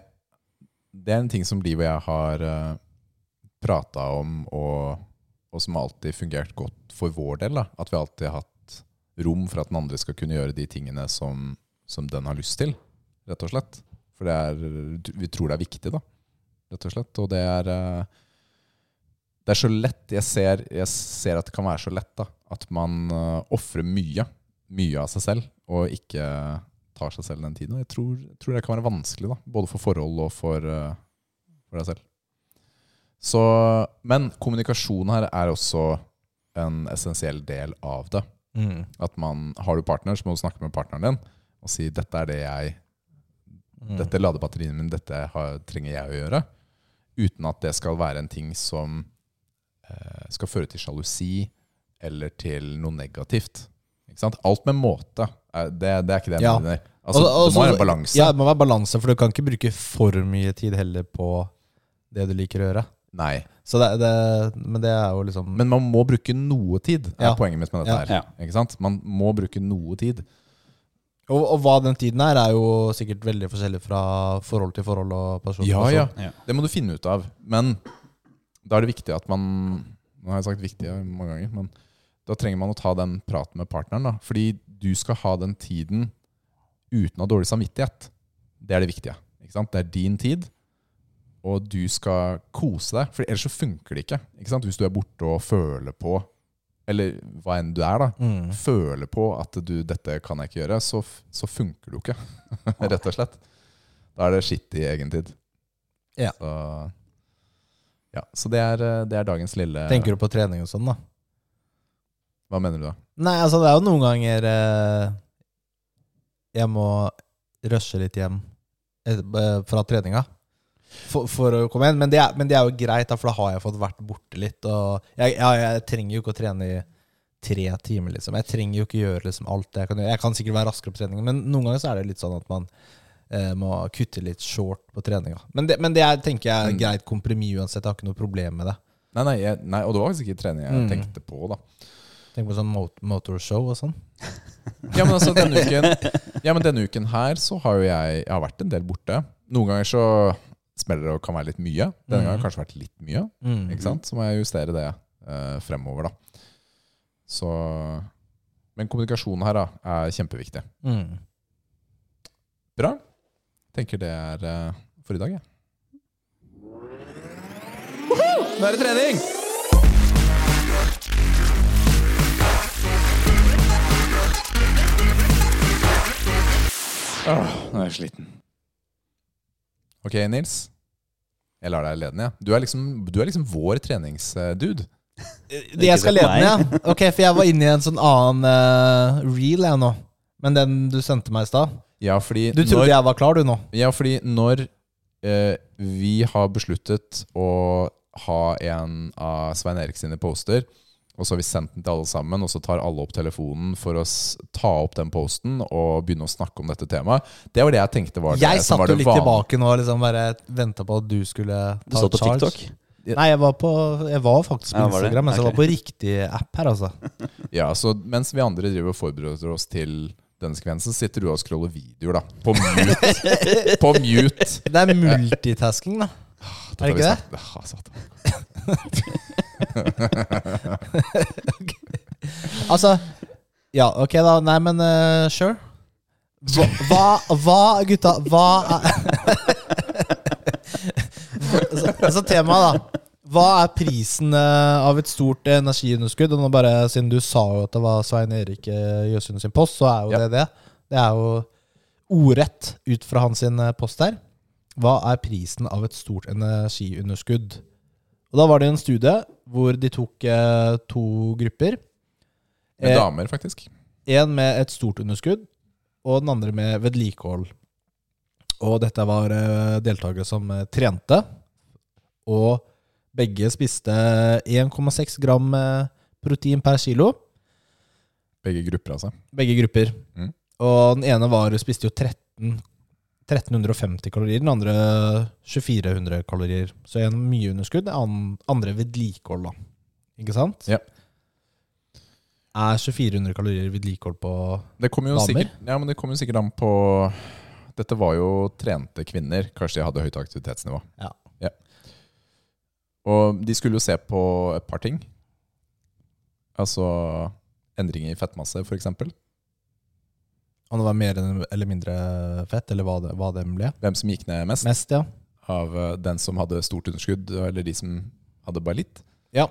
Speaker 2: det er en ting som Liv og jeg har uh, prata om, og, og som har alltid fungert godt for vår del. Da. At vi alltid har hatt rom for at den andre skal kunne gjøre de tingene som, som den har lyst til, rett og slett. For det er, vi tror det er viktig, da, rett og slett. Og det er eh, det er så lett, jeg ser, jeg ser at det kan være så lett da, at man uh, offrer mye, mye av seg selv, og ikke tar seg selv den tiden. Og Jeg tror, jeg tror det kan være vanskelig, da, både for forhold og for, eh, for deg selv. Så, men kommunikasjon her er også en essensiell del av det.
Speaker 1: Mm.
Speaker 2: At man, Har du partner, så må du snakke med partneren din og si 'dette er det jeg
Speaker 1: Mm.
Speaker 2: dette lader batteriene mine, dette har, trenger jeg å gjøre. Uten at det skal være en ting som eh, skal føre til sjalusi eller til noe negativt. Ikke sant? Alt med måte. Er, det, det er ikke det jeg
Speaker 1: Ja.
Speaker 2: mener. Altså,
Speaker 1: Og- og
Speaker 2: det må
Speaker 1: så-
Speaker 2: være en balanse.
Speaker 1: Ja, det må være balanse, for du kan ikke bruke for mye tid heller på det du liker å gjøre.
Speaker 2: Nei.
Speaker 1: Så det, det, men det er jo liksom
Speaker 2: Men man må bruke noe tid, er
Speaker 1: Ja.
Speaker 2: poenget mitt med dette
Speaker 1: Ja.
Speaker 2: her. Ikke sant? Man må bruke noe tid.
Speaker 1: og, og hva den tiden er, er jo sikkert veldig forskjellig fra forhold til forhold og person til
Speaker 2: Ja,
Speaker 1: person.
Speaker 2: ja.
Speaker 3: Ja.
Speaker 2: Det må du finne ut av. Men da er det viktig at man Nå har jeg sagt viktig mange ganger, men da trenger man å ta den praten med partneren. da. Fordi du skal ha den tiden uten å ha dårlig samvittighet. Det er det viktige. ikke sant? Det er din tid, og du skal kose deg. For ellers så funker det ikke. ikke sant? Hvis du er borte og føler på, eller hva enn du er, da,
Speaker 1: Mm.
Speaker 2: føler på at du, dette kan jeg ikke gjøre, så, f- så funker du ikke. [LAUGHS] Rett og slett. Da er det skitt i egen tid.
Speaker 1: Ja.
Speaker 2: Så, ja, så det, er, eh, det er dagens lille
Speaker 1: Tenker du på trening og sånn, da?
Speaker 2: Hva mener du da?
Speaker 1: Nei, altså, det er jo noen ganger eh, jeg må rushe litt hjem et- eh, fra treninga. For, for å komme igjen. Men det, er, men det er jo greit, da, for da har jeg fått vært borte litt. Og jeg, jeg, jeg trenger jo ikke å trene i tre timer, liksom. Jeg trenger jo ikke gjøre liksom, alt det jeg kan gjøre. Jeg kan sikkert være raskere på trening, men noen ganger så er det litt sånn at man eh, må kutte litt short på treninga. Men det, men det er, tenker jeg er
Speaker 2: Mm.
Speaker 1: greit kompromiss uansett. Jeg har ikke noe problem med det.
Speaker 2: Nei, nei, jeg, nei, og det var faktisk ikke trening jeg
Speaker 1: Mm.
Speaker 2: tenkte på, da.
Speaker 1: Tenk på sånn mot- motorshow og sånn.
Speaker 2: Ja, men altså, denne uken, ja, men denne uken her så har jo jeg, jeg har vært en del borte. Noen ganger så smeller det og kan være litt mye. Denne
Speaker 1: Mm.
Speaker 2: gangen har det kanskje vært litt mye.
Speaker 1: Mm.
Speaker 2: Ikke sant? Så må jeg justere det eh, fremover, da. Så Men kommunikasjonen her da, er kjempeviktig.
Speaker 1: Mm.
Speaker 2: Bra. tenker det er eh, for i dag, jeg. Nå er det trening! Åh, nå er jeg sliten. Ok, Nils. Jeg lar deg lede den, jeg. Du er liksom, du er liksom vår treningsdude.
Speaker 1: Jeg skal
Speaker 3: det på
Speaker 1: lede den, ja. Ok, for jeg var inne i en sånn annen eh, reel jeg nå. Men den du sendte meg i stad.
Speaker 2: Ja, fordi
Speaker 1: Du trodde jeg var klar, du nå.
Speaker 2: Ja, fordi når eh, vi har besluttet å ha en av Svein Erik sine poster, og så har vi sendt den til alle sammen, og så tar alle opp telefonen for å s ta opp den posten og begynne å snakke om dette temaet. Det var det jeg tenkte var det
Speaker 1: Jeg
Speaker 2: som
Speaker 1: satt
Speaker 2: var
Speaker 1: jo
Speaker 2: det
Speaker 1: litt
Speaker 2: van-
Speaker 1: tilbake nå og liksom bare venta på at du skulle ta
Speaker 3: Du satt på
Speaker 1: charge.
Speaker 3: TikTok?
Speaker 1: Nei, jeg var, på, jeg var faktisk på
Speaker 3: Ja, var det?
Speaker 1: Instagram, men jeg
Speaker 3: Ok.
Speaker 1: var på riktig app her, altså.
Speaker 2: Ja, så mens vi andre driver og forbereder oss til denne sekvensen, sitter du og scroller videoer, da. På mute.
Speaker 1: [LAUGHS]
Speaker 2: på mute.
Speaker 1: Det er multitasking, da.
Speaker 2: Dette
Speaker 1: Er det
Speaker 2: har vi
Speaker 1: ikke det?
Speaker 2: snakket- Ja, satan.
Speaker 1: Altså Ja, ok, da. Nei, men eh, sure. Hva, hva, hva gutta, hva er [LAUGHS] så, så temaet, da. Hva er prisen eh, av et stort energiunderskudd? Og nå bare, Siden du sa jo at det var Svein Erik eh, Jøsund sin post, så er jo
Speaker 2: Ja.
Speaker 1: det det. Det er jo ordrett ut fra hans sin eh, post der. Hva er prisen av et stort energiunderskudd? Og Da var det en studie hvor de tok eh, to grupper.
Speaker 2: Med
Speaker 1: Eh,
Speaker 2: damer, faktisk.
Speaker 1: en med et stort underskudd, og den andre med vedlikehold. Og dette var eh, deltakere som eh, trente, og begge spiste 1,6 gram eh, protein per kilo,
Speaker 2: Begge grupper, altså.
Speaker 1: begge grupper.
Speaker 2: Mm.
Speaker 1: Og den ene var, spiste jo 13, 1350 kalorier, den andre 2400 kalorier. Så en mye underskudd, den an- andre vedlikehold, da. Ikke sant?
Speaker 2: Ja.
Speaker 1: Er 2400 kalorier vedlikehold på
Speaker 2: Det kommer jo
Speaker 1: Damer?
Speaker 2: sikkert, ja, men det kommer jo sikkert an på Dette var jo trente kvinner. Kanskje de hadde høyt aktivitetsnivå.
Speaker 1: Ja.
Speaker 2: Og de skulle jo se på et par ting. Altså endring i fettmasse, f.eks.
Speaker 1: Om det var mer enn- eller mindre fett, eller hva det, hva det ble.
Speaker 2: Hvem som gikk ned mest
Speaker 1: Mest, ja.
Speaker 2: av eh, den som hadde stort underskudd, eller de som hadde bare litt.
Speaker 1: ja.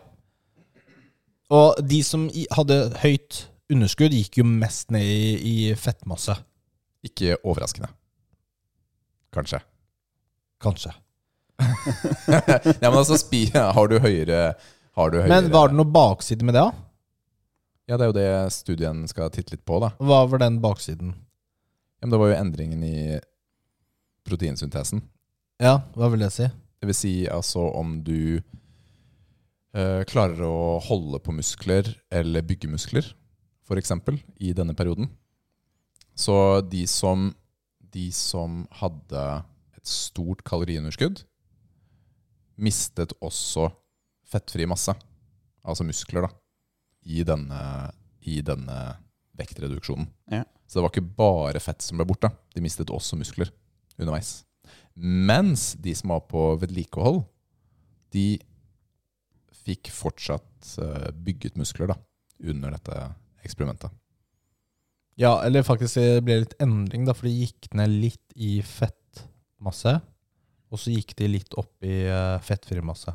Speaker 1: Og de som i- hadde høyt underskudd, gikk jo mest ned i, i fettmasse.
Speaker 2: Ikke overraskende. Kanskje. [LAUGHS]
Speaker 1: Kanskje.
Speaker 2: Ja, men altså, spi, har du høyere har du høyere,
Speaker 1: Men var det noe bakside med det, da?
Speaker 2: Ja, det er jo det studien skal titte litt på, da.
Speaker 1: Hva var den baksiden?
Speaker 2: Ja, men det var jo endringen i proteinsyntesen.
Speaker 1: Ja, hva vil det si?
Speaker 2: Det vil si altså om du eh, klarer å holde på muskler eller bygge muskler, f.eks., i denne perioden. Så de som, de som hadde et stort kaloriunderskudd, mistet også fettfri masse, altså muskler, da, i denne, i denne vektreduksjonen.
Speaker 3: Ja.
Speaker 2: Så det var ikke bare fett som ble borte. De mistet også muskler underveis. Mens de som var på vedlikehold, de fikk fortsatt eh, bygget muskler da, under dette eksperimentet.
Speaker 1: Ja, eller faktisk det ble litt endring, da, for de gikk ned litt i fettmasse. Og så gikk de litt opp i eh, fettfri masse.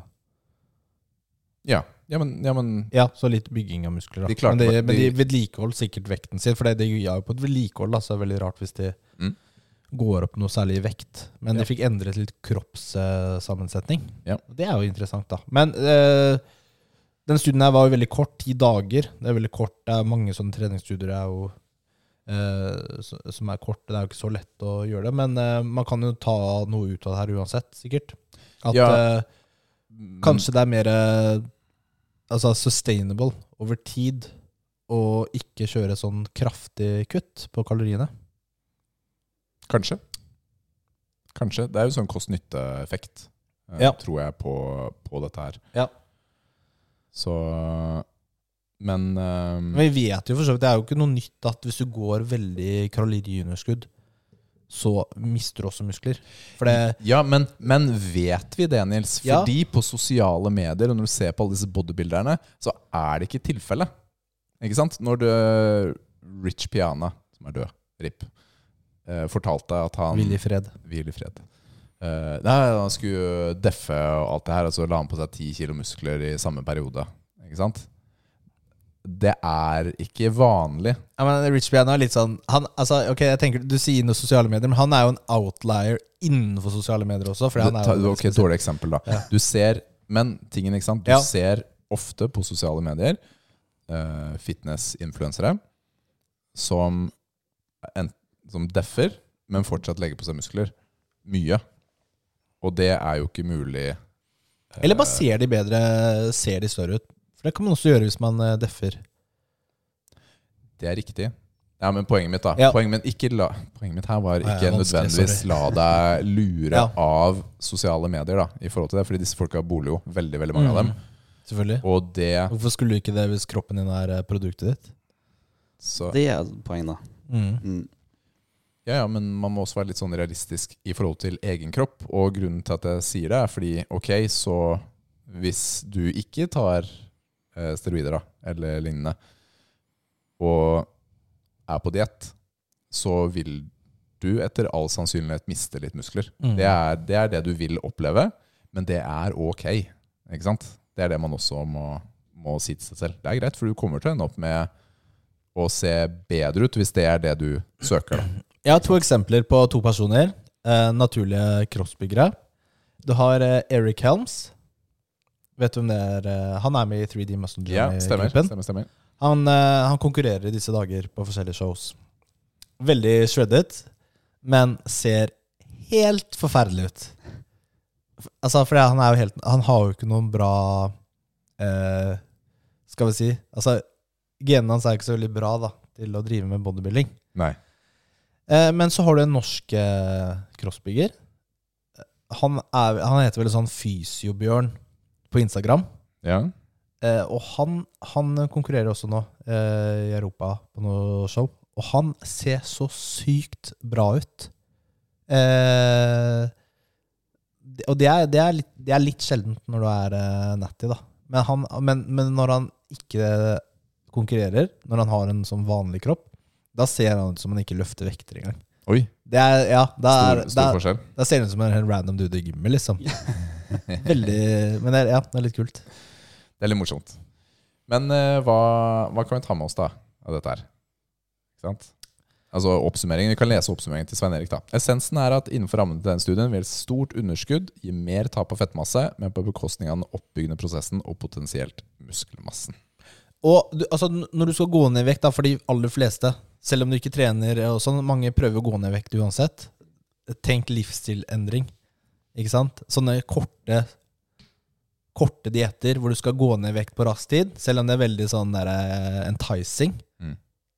Speaker 2: Ja, ja, men, ja, men
Speaker 1: Ja, Mm. så litt bygging av muskler. Da.
Speaker 2: De klarte
Speaker 1: men de,
Speaker 2: det.
Speaker 1: men de
Speaker 2: De-
Speaker 1: vedlikeholdt sikkert vekten sin, for det de gjør jo på et vedlikehold. Da, så det er veldig rart hvis de
Speaker 2: Mm.
Speaker 1: går opp noe særlig i vekt. Men
Speaker 2: Ja.
Speaker 1: de fikk endret litt kroppssammensetning.
Speaker 2: Ja.
Speaker 1: Det er jo interessant, da. Men eh, den studien her var jo veldig kort, ti dager. Det er veldig kort, det er mange sånne treningsstudier er jo, eh, s- som er korte. Det er jo ikke så lett å gjøre det, men eh, man kan jo ta noe ut av det her uansett, sikkert. At
Speaker 2: Ja.
Speaker 1: eh,
Speaker 2: Mm,
Speaker 1: Kanskje det er mer eh, altså sustainable over tid å ikke kjøre sånn kraftig kutt på kaloriene.
Speaker 2: Kanskje. Kanskje. Det er jo sånn kost-nytte-effekt, eh,
Speaker 1: Ja.
Speaker 2: tror jeg, på, på dette her.
Speaker 1: Ja.
Speaker 2: Så Men eh,
Speaker 1: Men vi vet jo for så vidt, det er jo ikke noe nytt at hvis du går veldig kaloriunderskudd, så mister du også muskler. For det
Speaker 2: Ja, men, men vet vi det, Nils?
Speaker 1: Ja.
Speaker 2: Fordi på sosiale medier, og når du ser på alle disse bodybuilderne, så er det ikke tilfelle. Ikke sant? Når du Rich Piana, som er død, RIP eh, fortalte at han
Speaker 1: Hvil i fred.
Speaker 2: Hvil i fred. Eh, nei, han skulle deffe og alt det her, og så la han på seg ti kilo muskler i samme periode. Ikke sant? Det er ikke vanlig.
Speaker 1: Ja, men Rich Brian er litt sånn han, altså, ok, jeg tenker Du sier noe sosiale medier, men han er jo en outlier innenfor sosiale medier også. Fordi han
Speaker 2: Det
Speaker 1: er
Speaker 2: ta-
Speaker 1: jo
Speaker 2: ok, Dårlig eksempel, da. Du ser, men tingen, ikke sant? Du
Speaker 1: Ja.
Speaker 2: ser ofte på sosiale medier eh, fitness-influensere som, en- som deffer, men fortsatt legger på seg muskler. Mye. Og det er jo ikke mulig. eh,
Speaker 1: Eller bare ser de bedre Ser de større ut? For det kan man også gjøre hvis man eh, deffer.
Speaker 2: Det er riktig. Ja, men poenget mitt da
Speaker 1: Ja.
Speaker 2: poenget, mitt, ikke la, poenget mitt her var
Speaker 1: Nei,
Speaker 2: ikke
Speaker 1: vanskelig,
Speaker 2: nødvendigvis
Speaker 1: sorry.
Speaker 2: la deg lure
Speaker 1: Ja.
Speaker 2: av sosiale medier. da I forhold til det Fordi disse folka bor jo veldig veldig mange av
Speaker 1: Mm.
Speaker 2: dem.
Speaker 1: Selvfølgelig.
Speaker 2: Og det
Speaker 1: Hvorfor skulle du ikke det hvis kroppen din er eh, produktet ditt?
Speaker 2: så,
Speaker 3: Det er poeng, da. Mm.
Speaker 2: ja, ja, Men man må også være litt sånn realistisk i forhold til egen kropp. Og grunnen til at jeg sier det, er fordi ok, så hvis du ikke tar eh, steroider da eller lignende, og er på diett, så vil du etter all sannsynlighet miste litt muskler.
Speaker 1: Mm.
Speaker 2: Det er, det er det du vil oppleve, men det er ok. Ikke sant? Det er det man også må, må si til seg selv. Det er greit, for du kommer til å ende opp med å se bedre ut hvis det er det du søker. Da.
Speaker 1: Jeg har to eksempler på to personer. Eh, naturlige kroppsbyggere. Du har eh, Eric Helms. Vet du hvem det er? Eh, han er med i 3D Muscle
Speaker 2: Ja, stemmer.
Speaker 1: Jam-gruppen.
Speaker 2: stemmer, stemmer.
Speaker 1: Han, eh, han konkurrerer i disse dager på forskjellige shows. Veldig shreddet, men ser helt forferdelig ut. F- Altså, for han er jo helt Han har jo ikke noen bra eh, Skal vi si Altså, genene hans er ikke så veldig bra da til å drive med bodybuilding.
Speaker 2: Nei.
Speaker 1: Eh, men så har du en norsk eh, crossbygger. Eh, Han, er, han heter vel sånn Fysiobjørn på Instagram.
Speaker 2: Ja.
Speaker 1: Eh, og han, han konkurrerer også nå eh, i Europa på noe show. Og han ser så sykt bra ut. Eh, det- og det er, det, er litt, det er litt sjeldent når du er eh, natty, da. Men, han, men, men når han ikke konkurrerer, når han har en sånn vanlig kropp, da ser han ut som han ikke løfter vekter engang.
Speaker 2: Oi,
Speaker 1: Det er, ja, da,
Speaker 2: stor,
Speaker 1: er,
Speaker 2: stor
Speaker 1: da,
Speaker 2: forskjell.
Speaker 1: da ser han ut som en helt random dude i gymmet, liksom. Veldig Men det er, ja, det er litt kult.
Speaker 2: Det er litt morsomt. Men eh, hva, hva kan vi ta med oss da av dette her? Ikke sant? Altså oppsummeringen, Vi kan lese oppsummeringen til Svein Erik. da. Essensen er at innenfor rammen til denne studien vil et stort underskudd gi mer tap av fettmasse, men på bekostning av den oppbyggende prosessen og potensielt muskelmassen.
Speaker 1: Og du, altså, n- når du skal gå ned i vekt, da, for de aller fleste, selv om du ikke trener og sånn, mange prøver å gå ned i vekt uansett. Tenk livsstilendring. Ikke sant? Sånne korte Korte dietter hvor du skal gå ned i vekt på rask tid, selv om det er veldig sånn der, eh, enticing.
Speaker 2: Mm.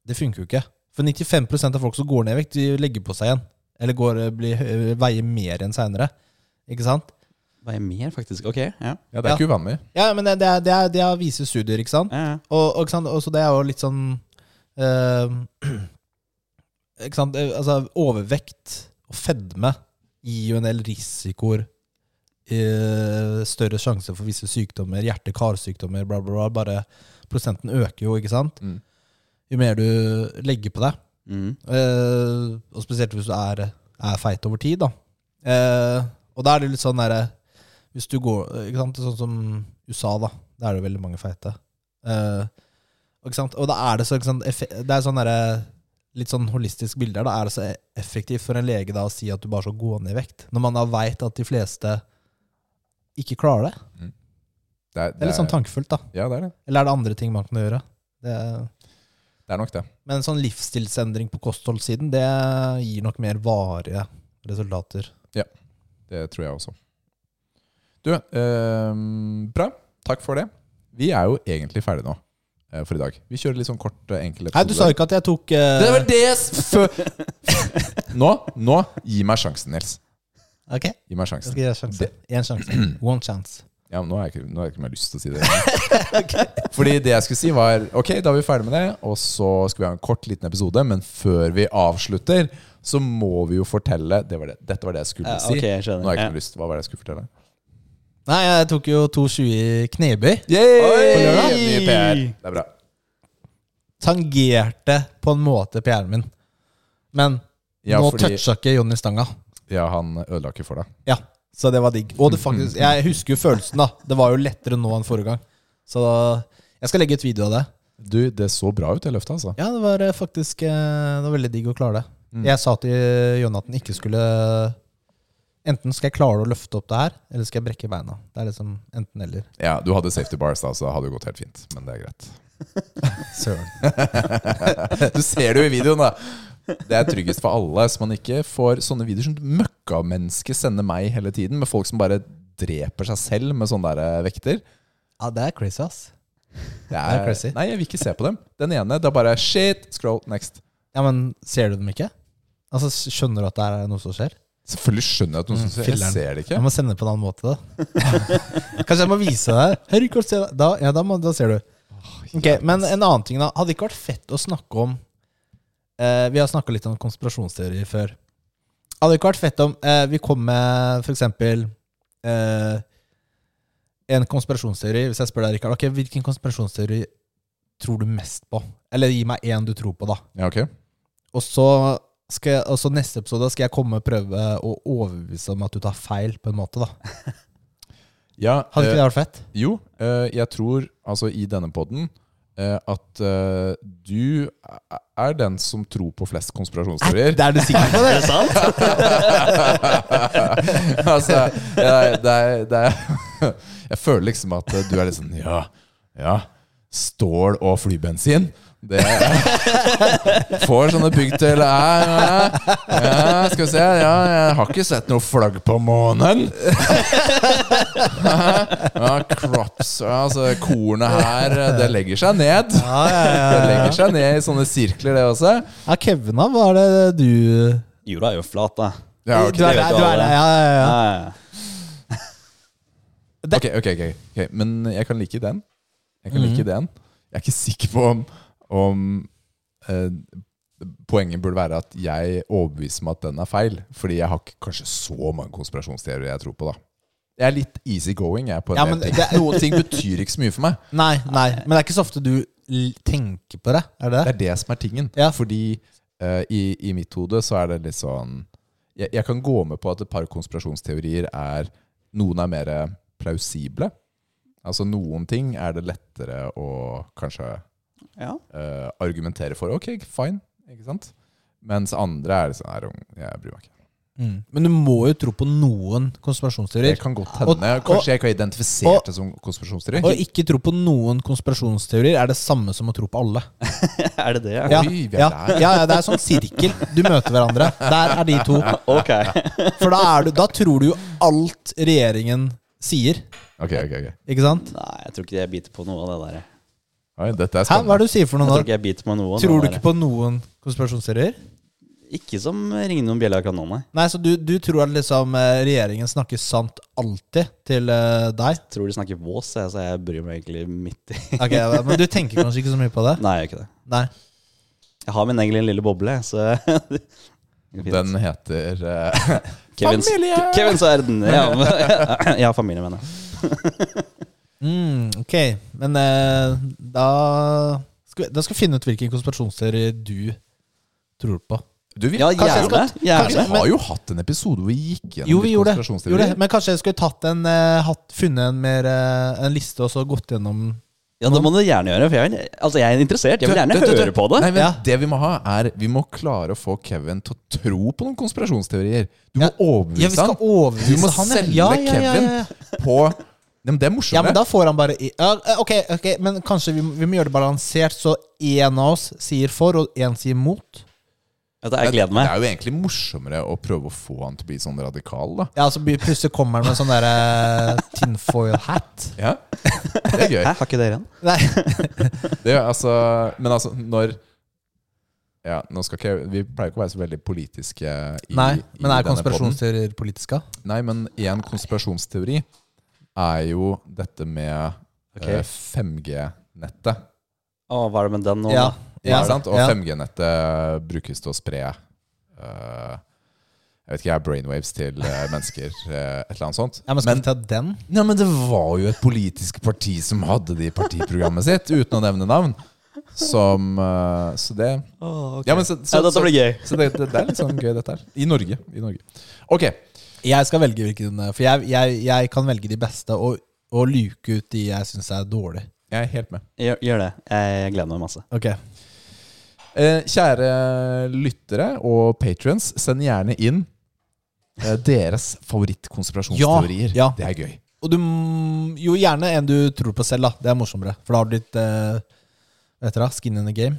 Speaker 1: Det funker jo ikke. For 95 av folk som går ned i vekt, de legger på seg igjen. Eller går, eh, blir, veier mer enn seinere. Ikke sant?
Speaker 3: Hva er mer, faktisk? Ok, ja.
Speaker 2: Ja, Det er
Speaker 1: Ja.
Speaker 2: ikke uvanlig.
Speaker 1: Ja, men det, det, er- det, er- det er- viser studier, ikke sant?
Speaker 3: ja, ja.
Speaker 1: Og, og, ikke sant? og så det er jo litt sånn eh, [CLEARS THROAT] Ikke sant? Eh, Altså, overvekt og fedme gir jo en del risikoer. eh, større sjanse for visse sykdommer, hjerte-karsykdommer, bla, bla, bla. Bare prosenten øker jo, ikke sant?
Speaker 2: Mm.
Speaker 1: Jo mer du legger på deg.
Speaker 3: Mm.
Speaker 1: Eh, og spesielt hvis du er, er feit over tid, da. Eh, og da er det litt sånn derre Hvis du går ikke sant? Sånn som USA, da. Der er det veldig mange feite. Eh, og ikke sant? Og da er det så ikke sant? effe- Det er sånn derre Litt sånn holistisk bilde her. Da er det så effektivt for en lege da å si at du bare skal gå ned i vekt, når man da veit at de fleste ikke klarer det.
Speaker 2: Det er,
Speaker 1: Det er litt sånn tankefullt, da.
Speaker 2: Ja, det er det.
Speaker 1: Eller er det andre ting man kan gjøre? Det er
Speaker 2: Det er nok det.
Speaker 1: men en sånn livsstilsendring på kostholdssiden, det gir nok mer varige resultater.
Speaker 2: Det tror jeg også. Du, eh, bra. Takk for det. Vi er jo egentlig ferdige nå eh, for i dag. Vi kjører litt sånn kort, eh, enkel
Speaker 1: Nei, du sa ikke at jeg tok eh,
Speaker 2: Det er vel det jeg s- fø- [LAUGHS] Nå, nå, gi meg sjansen, Nils.
Speaker 1: Ok, jeg
Speaker 2: Gi meg sjansen.
Speaker 1: skal gi deg en sjanse. En sjanse. One chance.
Speaker 2: Ja, men nå har jeg ikke, nå har jeg ikke mer lyst til
Speaker 1: [LAUGHS]
Speaker 2: å si det. Fordi det jeg skulle si var Ok, da er vi ferdig med det, og så skal vi ha en kort liten episode. Men før vi avslutter, så må vi jo fortelle det var det, Dette var det jeg skulle
Speaker 3: Ja,
Speaker 2: si.
Speaker 3: ok, jeg skjønner.
Speaker 2: Nå har jeg ikke
Speaker 3: Ja.
Speaker 2: mer lyst. Hva var det jeg skulle fortelle?
Speaker 1: Nei, jeg tok jo 2,20 i knebøy.
Speaker 2: Yay! På lørdag. Ny PR. Det er bra.
Speaker 1: Tangerte på en måte PR-en min. Men
Speaker 2: Ja,
Speaker 1: Nå
Speaker 2: fordi-
Speaker 1: toucha ikke Jonny stanga.
Speaker 2: Ja, han ødela ikke for deg.
Speaker 1: Ja, så det var digg. Og det faktisk, jeg husker jo følelsen, da. Det var jo lettere nå enn forrige gang. Så da, jeg skal legge ut video av det.
Speaker 2: Du, det så bra ut, det løftet, altså.
Speaker 1: Ja, det var eh, faktisk eh, det var veldig digg å klare det. Jeg sa til Jonny at han ikke skulle Enten skal jeg klare å løfte opp det her, eller skal jeg brekke beina. Det er liksom enten eller.
Speaker 2: Ja, Du hadde safety bars da, så det hadde jo gått helt fint. Men det er greit. [LAUGHS]
Speaker 1: Søren.
Speaker 2: Du ser det jo i videoen, da. Det er tryggest for alle, så man ikke får sånne videoer som møkkamennesker sender meg hele tiden, med folk som bare dreper seg selv med sånne der eh, vekter.
Speaker 1: Ja, det er crazy, ass.
Speaker 2: Det
Speaker 1: er crazy.
Speaker 2: Nei, jeg vil ikke se på dem. Den ene, det er bare shit, scroll, next.
Speaker 1: Ja, men ser du dem ikke? Altså, Skjønner du at det er noe som skjer?
Speaker 2: Selvfølgelig skjønner jeg at noen som ser Jeg
Speaker 1: Mm, filleren.
Speaker 2: ser det ikke.
Speaker 1: Jeg må sende det på en annen måte, da. [LAUGHS] Kanskje jeg må vise deg. Herregud, se da. Ja, da, må, da ser du. Ok, Men en annen ting, da. Hadde det ikke vært fett å snakke om eh, Vi har snakka litt om konspirasjonsteorier før. Hadde det ikke vært fett om eh, vi kom med f.eks. Eh, en konspirasjonsteori. Hvis jeg spør deg, Rikard, ok, hvilken konspirasjonsteori tror du mest på? Eller gi meg én du tror på, da.
Speaker 2: Ja, ok.
Speaker 1: Og så skal jeg, og så neste episode skal jeg komme og prøve å overbevise om at du tar feil, på en måte. da
Speaker 2: Ja,
Speaker 1: Hadde ikke
Speaker 2: eh,
Speaker 1: det vært fett?
Speaker 2: Jo, eh, jeg tror altså i denne podden eh, at eh, du er den som tror på flest konspirasjonsteorier.
Speaker 1: er du sikker på
Speaker 3: [LAUGHS]
Speaker 1: det?
Speaker 2: [LAUGHS] altså, jeg, det er, det er, [LAUGHS] jeg føler liksom at du er litt sånn Ja, ja. Stål og flybensin. Det [LAUGHS] Får sånne bygdøl ja, ja, ja, Skal vi se ja, Jeg har ikke sett noe flagg på månen. [LAUGHS] Ja, crops ja, altså, Kornet her, det legger seg ned.
Speaker 1: Ja, ja,
Speaker 2: Det
Speaker 1: ja,
Speaker 2: legger seg ned i sånne sirkler, det også.
Speaker 1: ja. ja Kevin, da, hva er det du
Speaker 3: Jorda er jo flat, da.
Speaker 2: Ja, ok.
Speaker 1: Du er der, du er der. Ja, ja, ja.
Speaker 3: Ja.
Speaker 1: Det-
Speaker 2: Ok, ok, ok, ok. Men jeg kan like den. Jeg kan
Speaker 1: Mhm.
Speaker 2: like den. Jeg er ikke sikker på om, om eh, Poenget burde være at jeg overbeviser meg at den er feil. Fordi jeg har ikke kanskje så mange konspirasjonsteorier jeg tror på, da. Jeg er litt easy going. Jeg, på en
Speaker 1: Ja,
Speaker 2: del
Speaker 1: men
Speaker 2: ting.
Speaker 1: det-
Speaker 2: Noen ting betyr ikke så mye for meg.
Speaker 1: Nei, nei, men det er ikke så ofte du l- tenker på det. Er det
Speaker 2: Det
Speaker 1: det?
Speaker 2: er det som er tingen.
Speaker 1: Ja.
Speaker 2: Fordi eh, i, i mitt hode så er det litt sånn jeg, jeg kan gå med på at et par konspirasjonsteorier er Noen er mer plausible. Altså noen ting er det lettere å kanskje
Speaker 3: Ja.
Speaker 2: eh, argumentere for. Ok, fine. Ikke sant? Mens andre er sånn Nei, jeg bryr meg ikke.
Speaker 1: Mm. Men du må jo tro på noen
Speaker 2: Det
Speaker 1: konspirasjonsteorier.
Speaker 2: kan godt
Speaker 1: Og-
Speaker 2: hende. Kanskje jeg ikke har
Speaker 1: og-
Speaker 2: identifisert det som konspirasjonsteori.
Speaker 1: Å ikke tro på noen konspirasjonsteorier er det samme som å tro på alle.
Speaker 3: [LAUGHS] Er det det?
Speaker 1: Ja,
Speaker 2: Oi, vi er
Speaker 1: ja,
Speaker 2: der.
Speaker 1: ja, ja det er sånn sirkel. Du møter hverandre. Der er de to.
Speaker 3: [LAUGHS] Ok.
Speaker 1: For da, er du, da tror du jo alt regjeringen sier.
Speaker 2: Ok, ok, ok
Speaker 1: Ikke sant?
Speaker 3: Nei, jeg tror ikke jeg biter på noe av det der. Jeg
Speaker 2: Oi, Dette
Speaker 1: Hæ, hva er
Speaker 2: er spennende.
Speaker 1: det du sier for noe
Speaker 3: tror
Speaker 1: nå?
Speaker 3: ikke jeg biter på noe av
Speaker 1: Tror du
Speaker 3: det
Speaker 1: ikke
Speaker 3: der.
Speaker 1: på noen konspirasjonsserier?
Speaker 3: Ikke som ringer noen bjeller akkurat nå, nei.
Speaker 1: Nei, så du, du tror at liksom eh, regjeringen snakker sant alltid til eh, deg?
Speaker 3: Tror de snakker vås, jeg, så jeg bryr meg egentlig midt i. [LAUGHS]
Speaker 1: Ok, ja, Men du tenker kanskje ikke så mye på det?
Speaker 3: Nei, jeg gjør ikke det.
Speaker 1: Nei.
Speaker 3: Jeg har min egen lille boble, så [LAUGHS] Det går fint.
Speaker 2: Den heter eh, [LAUGHS]
Speaker 3: Kevins,
Speaker 2: Familie!
Speaker 3: Kevins verden. Ja, men- ja [LAUGHS] familie, mener jeg.
Speaker 1: Mm, ok, men eh, da skal, vi, da skal vi finne ut hvilken konspirasjonsteori du tror på.
Speaker 2: Du, vi,
Speaker 3: Ja,
Speaker 2: kanskje jeg
Speaker 3: gjerne.
Speaker 2: Vi
Speaker 3: gjerne.
Speaker 2: har jo hatt en episode hvor vi gikk gjennom
Speaker 1: Jo, vi
Speaker 2: litt
Speaker 1: gjorde det.
Speaker 2: konspirasjonsteorier.
Speaker 1: Gjorde det. Men kanskje jeg skulle tatt en, eh, hatt, funnet en, mer, eh, en liste og så gått gjennom
Speaker 3: Ja, det må du gjerne gjøre. For jeg, vil- altså, jeg er interessert. Jeg vil gjerne
Speaker 2: Du, du, du, du.
Speaker 3: høre på det.
Speaker 2: Nei, men
Speaker 1: Ja.
Speaker 2: Det vi må ha, er Vi må klare å få Kevin til å tro på noen konspirasjonsteorier. Du
Speaker 1: Ja.
Speaker 2: må overbevise
Speaker 1: Ja, vi skal
Speaker 2: han.
Speaker 1: overbevise
Speaker 2: Du må
Speaker 1: han, ja.
Speaker 2: selge
Speaker 1: Ja, ja, ja,
Speaker 2: Kevin
Speaker 1: ja,
Speaker 2: på Nei, men Det er morsomt.
Speaker 1: Ja, men
Speaker 2: det.
Speaker 1: da får han bare i- ja, eh, ok, ok, men kanskje vi, vi må gjøre det balansert, så én av oss sier for, og én sier mot.
Speaker 3: Vet du, Jeg gleder
Speaker 2: Det
Speaker 3: meg.
Speaker 2: er jo egentlig morsommere å prøve å få han til å bli sånn radikal, da.
Speaker 1: Ja, så blir- plutselig kommer han med sånn derre tinfoil hat.
Speaker 2: Ja, Det er gøy.
Speaker 3: Hæ, har ikke dere en?
Speaker 1: Nei,
Speaker 2: Det er, altså, men altså, når ja, nå skal ikke, jeg- Vi pleier ikke å være så veldig politiske. I,
Speaker 1: Nei
Speaker 2: i
Speaker 1: men er
Speaker 2: denne podden.
Speaker 1: konspirasjonsteorier politiske?
Speaker 2: Nei, men én konspirasjonsteori er jo dette med
Speaker 3: Ok.
Speaker 2: eh, 5G-nettet.
Speaker 3: Å, hva er det med den nå?
Speaker 1: Ja.
Speaker 2: Ja,
Speaker 1: ja,
Speaker 2: sant? Og
Speaker 1: ja.
Speaker 2: 5G-nettet brukes til å spre eh, Jeg vet ikke, jeg brainwaves til eh, mennesker. eh, et eller annet sånt.
Speaker 1: Ja, men skal vi ta den?
Speaker 2: Nei, men det var jo et politisk parti som hadde det i partiprogrammet sitt, uten å nevne navn. Som eh, Så det Ja, men så, så,
Speaker 3: Ja, dette
Speaker 2: så,
Speaker 3: blir gøy.
Speaker 2: så det, det, det er litt sånn gøy, dette her. I Norge. I Norge. Ok.
Speaker 1: Jeg skal velge hvilken eh, For jeg, jeg, jeg kan velge de beste og, og luke ut de jeg syns er dårlige.
Speaker 2: Jeg er helt med.
Speaker 3: Gjør, gjør det. Jeg gleder meg masse.
Speaker 1: Ok
Speaker 2: Eh, kjære lyttere og patrions, send gjerne inn eh, deres favorittkonspirasjonsteorier.
Speaker 1: Ja, ja.
Speaker 2: Det er gøy.
Speaker 1: Og du m- Jo, gjerne en du tror på selv, da. Det er morsommere. For da har du litt eh, Hva heter det? Skin in the game.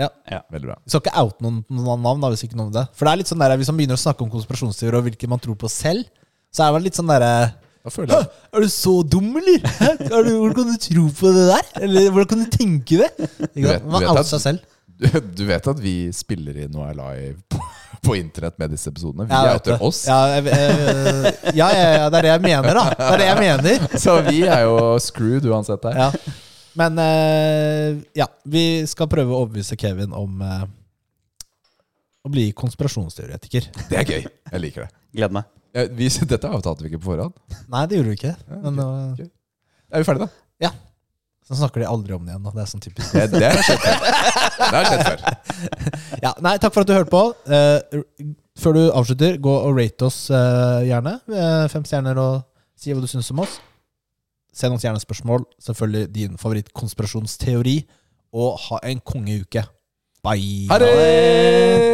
Speaker 2: Veldig bra.
Speaker 1: Vi skal ikke oute noen, noen navn, da, hvis ikke noen om det. For det er litt sånn der, hvis man begynner å snakke om konspirasjonsteorier og hvilke man tror på selv, så er man litt sånn derre
Speaker 2: Da føler jeg
Speaker 1: Er du så dum, eller? Hæ? Er du, hvordan kan du tro på det der? Eller hvordan kan du tenke det? Ikke sant?
Speaker 2: vet-
Speaker 1: Man
Speaker 2: du vet
Speaker 1: outer
Speaker 2: at-
Speaker 1: seg selv.
Speaker 2: du, [LAUGHS] du vet at vi spiller inn og er live på, på internett med disse episodene? Vi
Speaker 1: Jeg
Speaker 2: er
Speaker 1: vet det.
Speaker 2: etter oss.
Speaker 1: Ja, jeg, jeg, ja, ja, ja, det er det jeg mener, da. Det er det jeg mener.
Speaker 2: [LAUGHS] Så vi er jo screwed uansett her.
Speaker 1: Ja. Men eh, ja, vi skal prøve å overbevise Kevin om eh, å bli konspirasjonsteoretiker.
Speaker 2: Det er gøy. Jeg liker det.
Speaker 3: Gleder meg.
Speaker 2: Ja, vi, dette avtalte vi ikke på forhånd.
Speaker 1: Nei, det gjorde du ikke. Men eh, nå
Speaker 2: ok. Er vi ferdige, da?
Speaker 1: så snakker de aldri om det igjen. Da. Det er sånn typisk.
Speaker 2: Det, det har skjedd før. Det har skjedd før.
Speaker 1: Ja, nei, takk for at du hørte på. Eh, r- før du avslutter, gå og rate oss eh, gjerne. Eh, fem stjerner, og si hva du syns om oss. Send oss gjerne spørsmål. Selvfølgelig din favorittkonspirasjonsteori. Og ha en kongeuke. Bye.
Speaker 2: Ha det!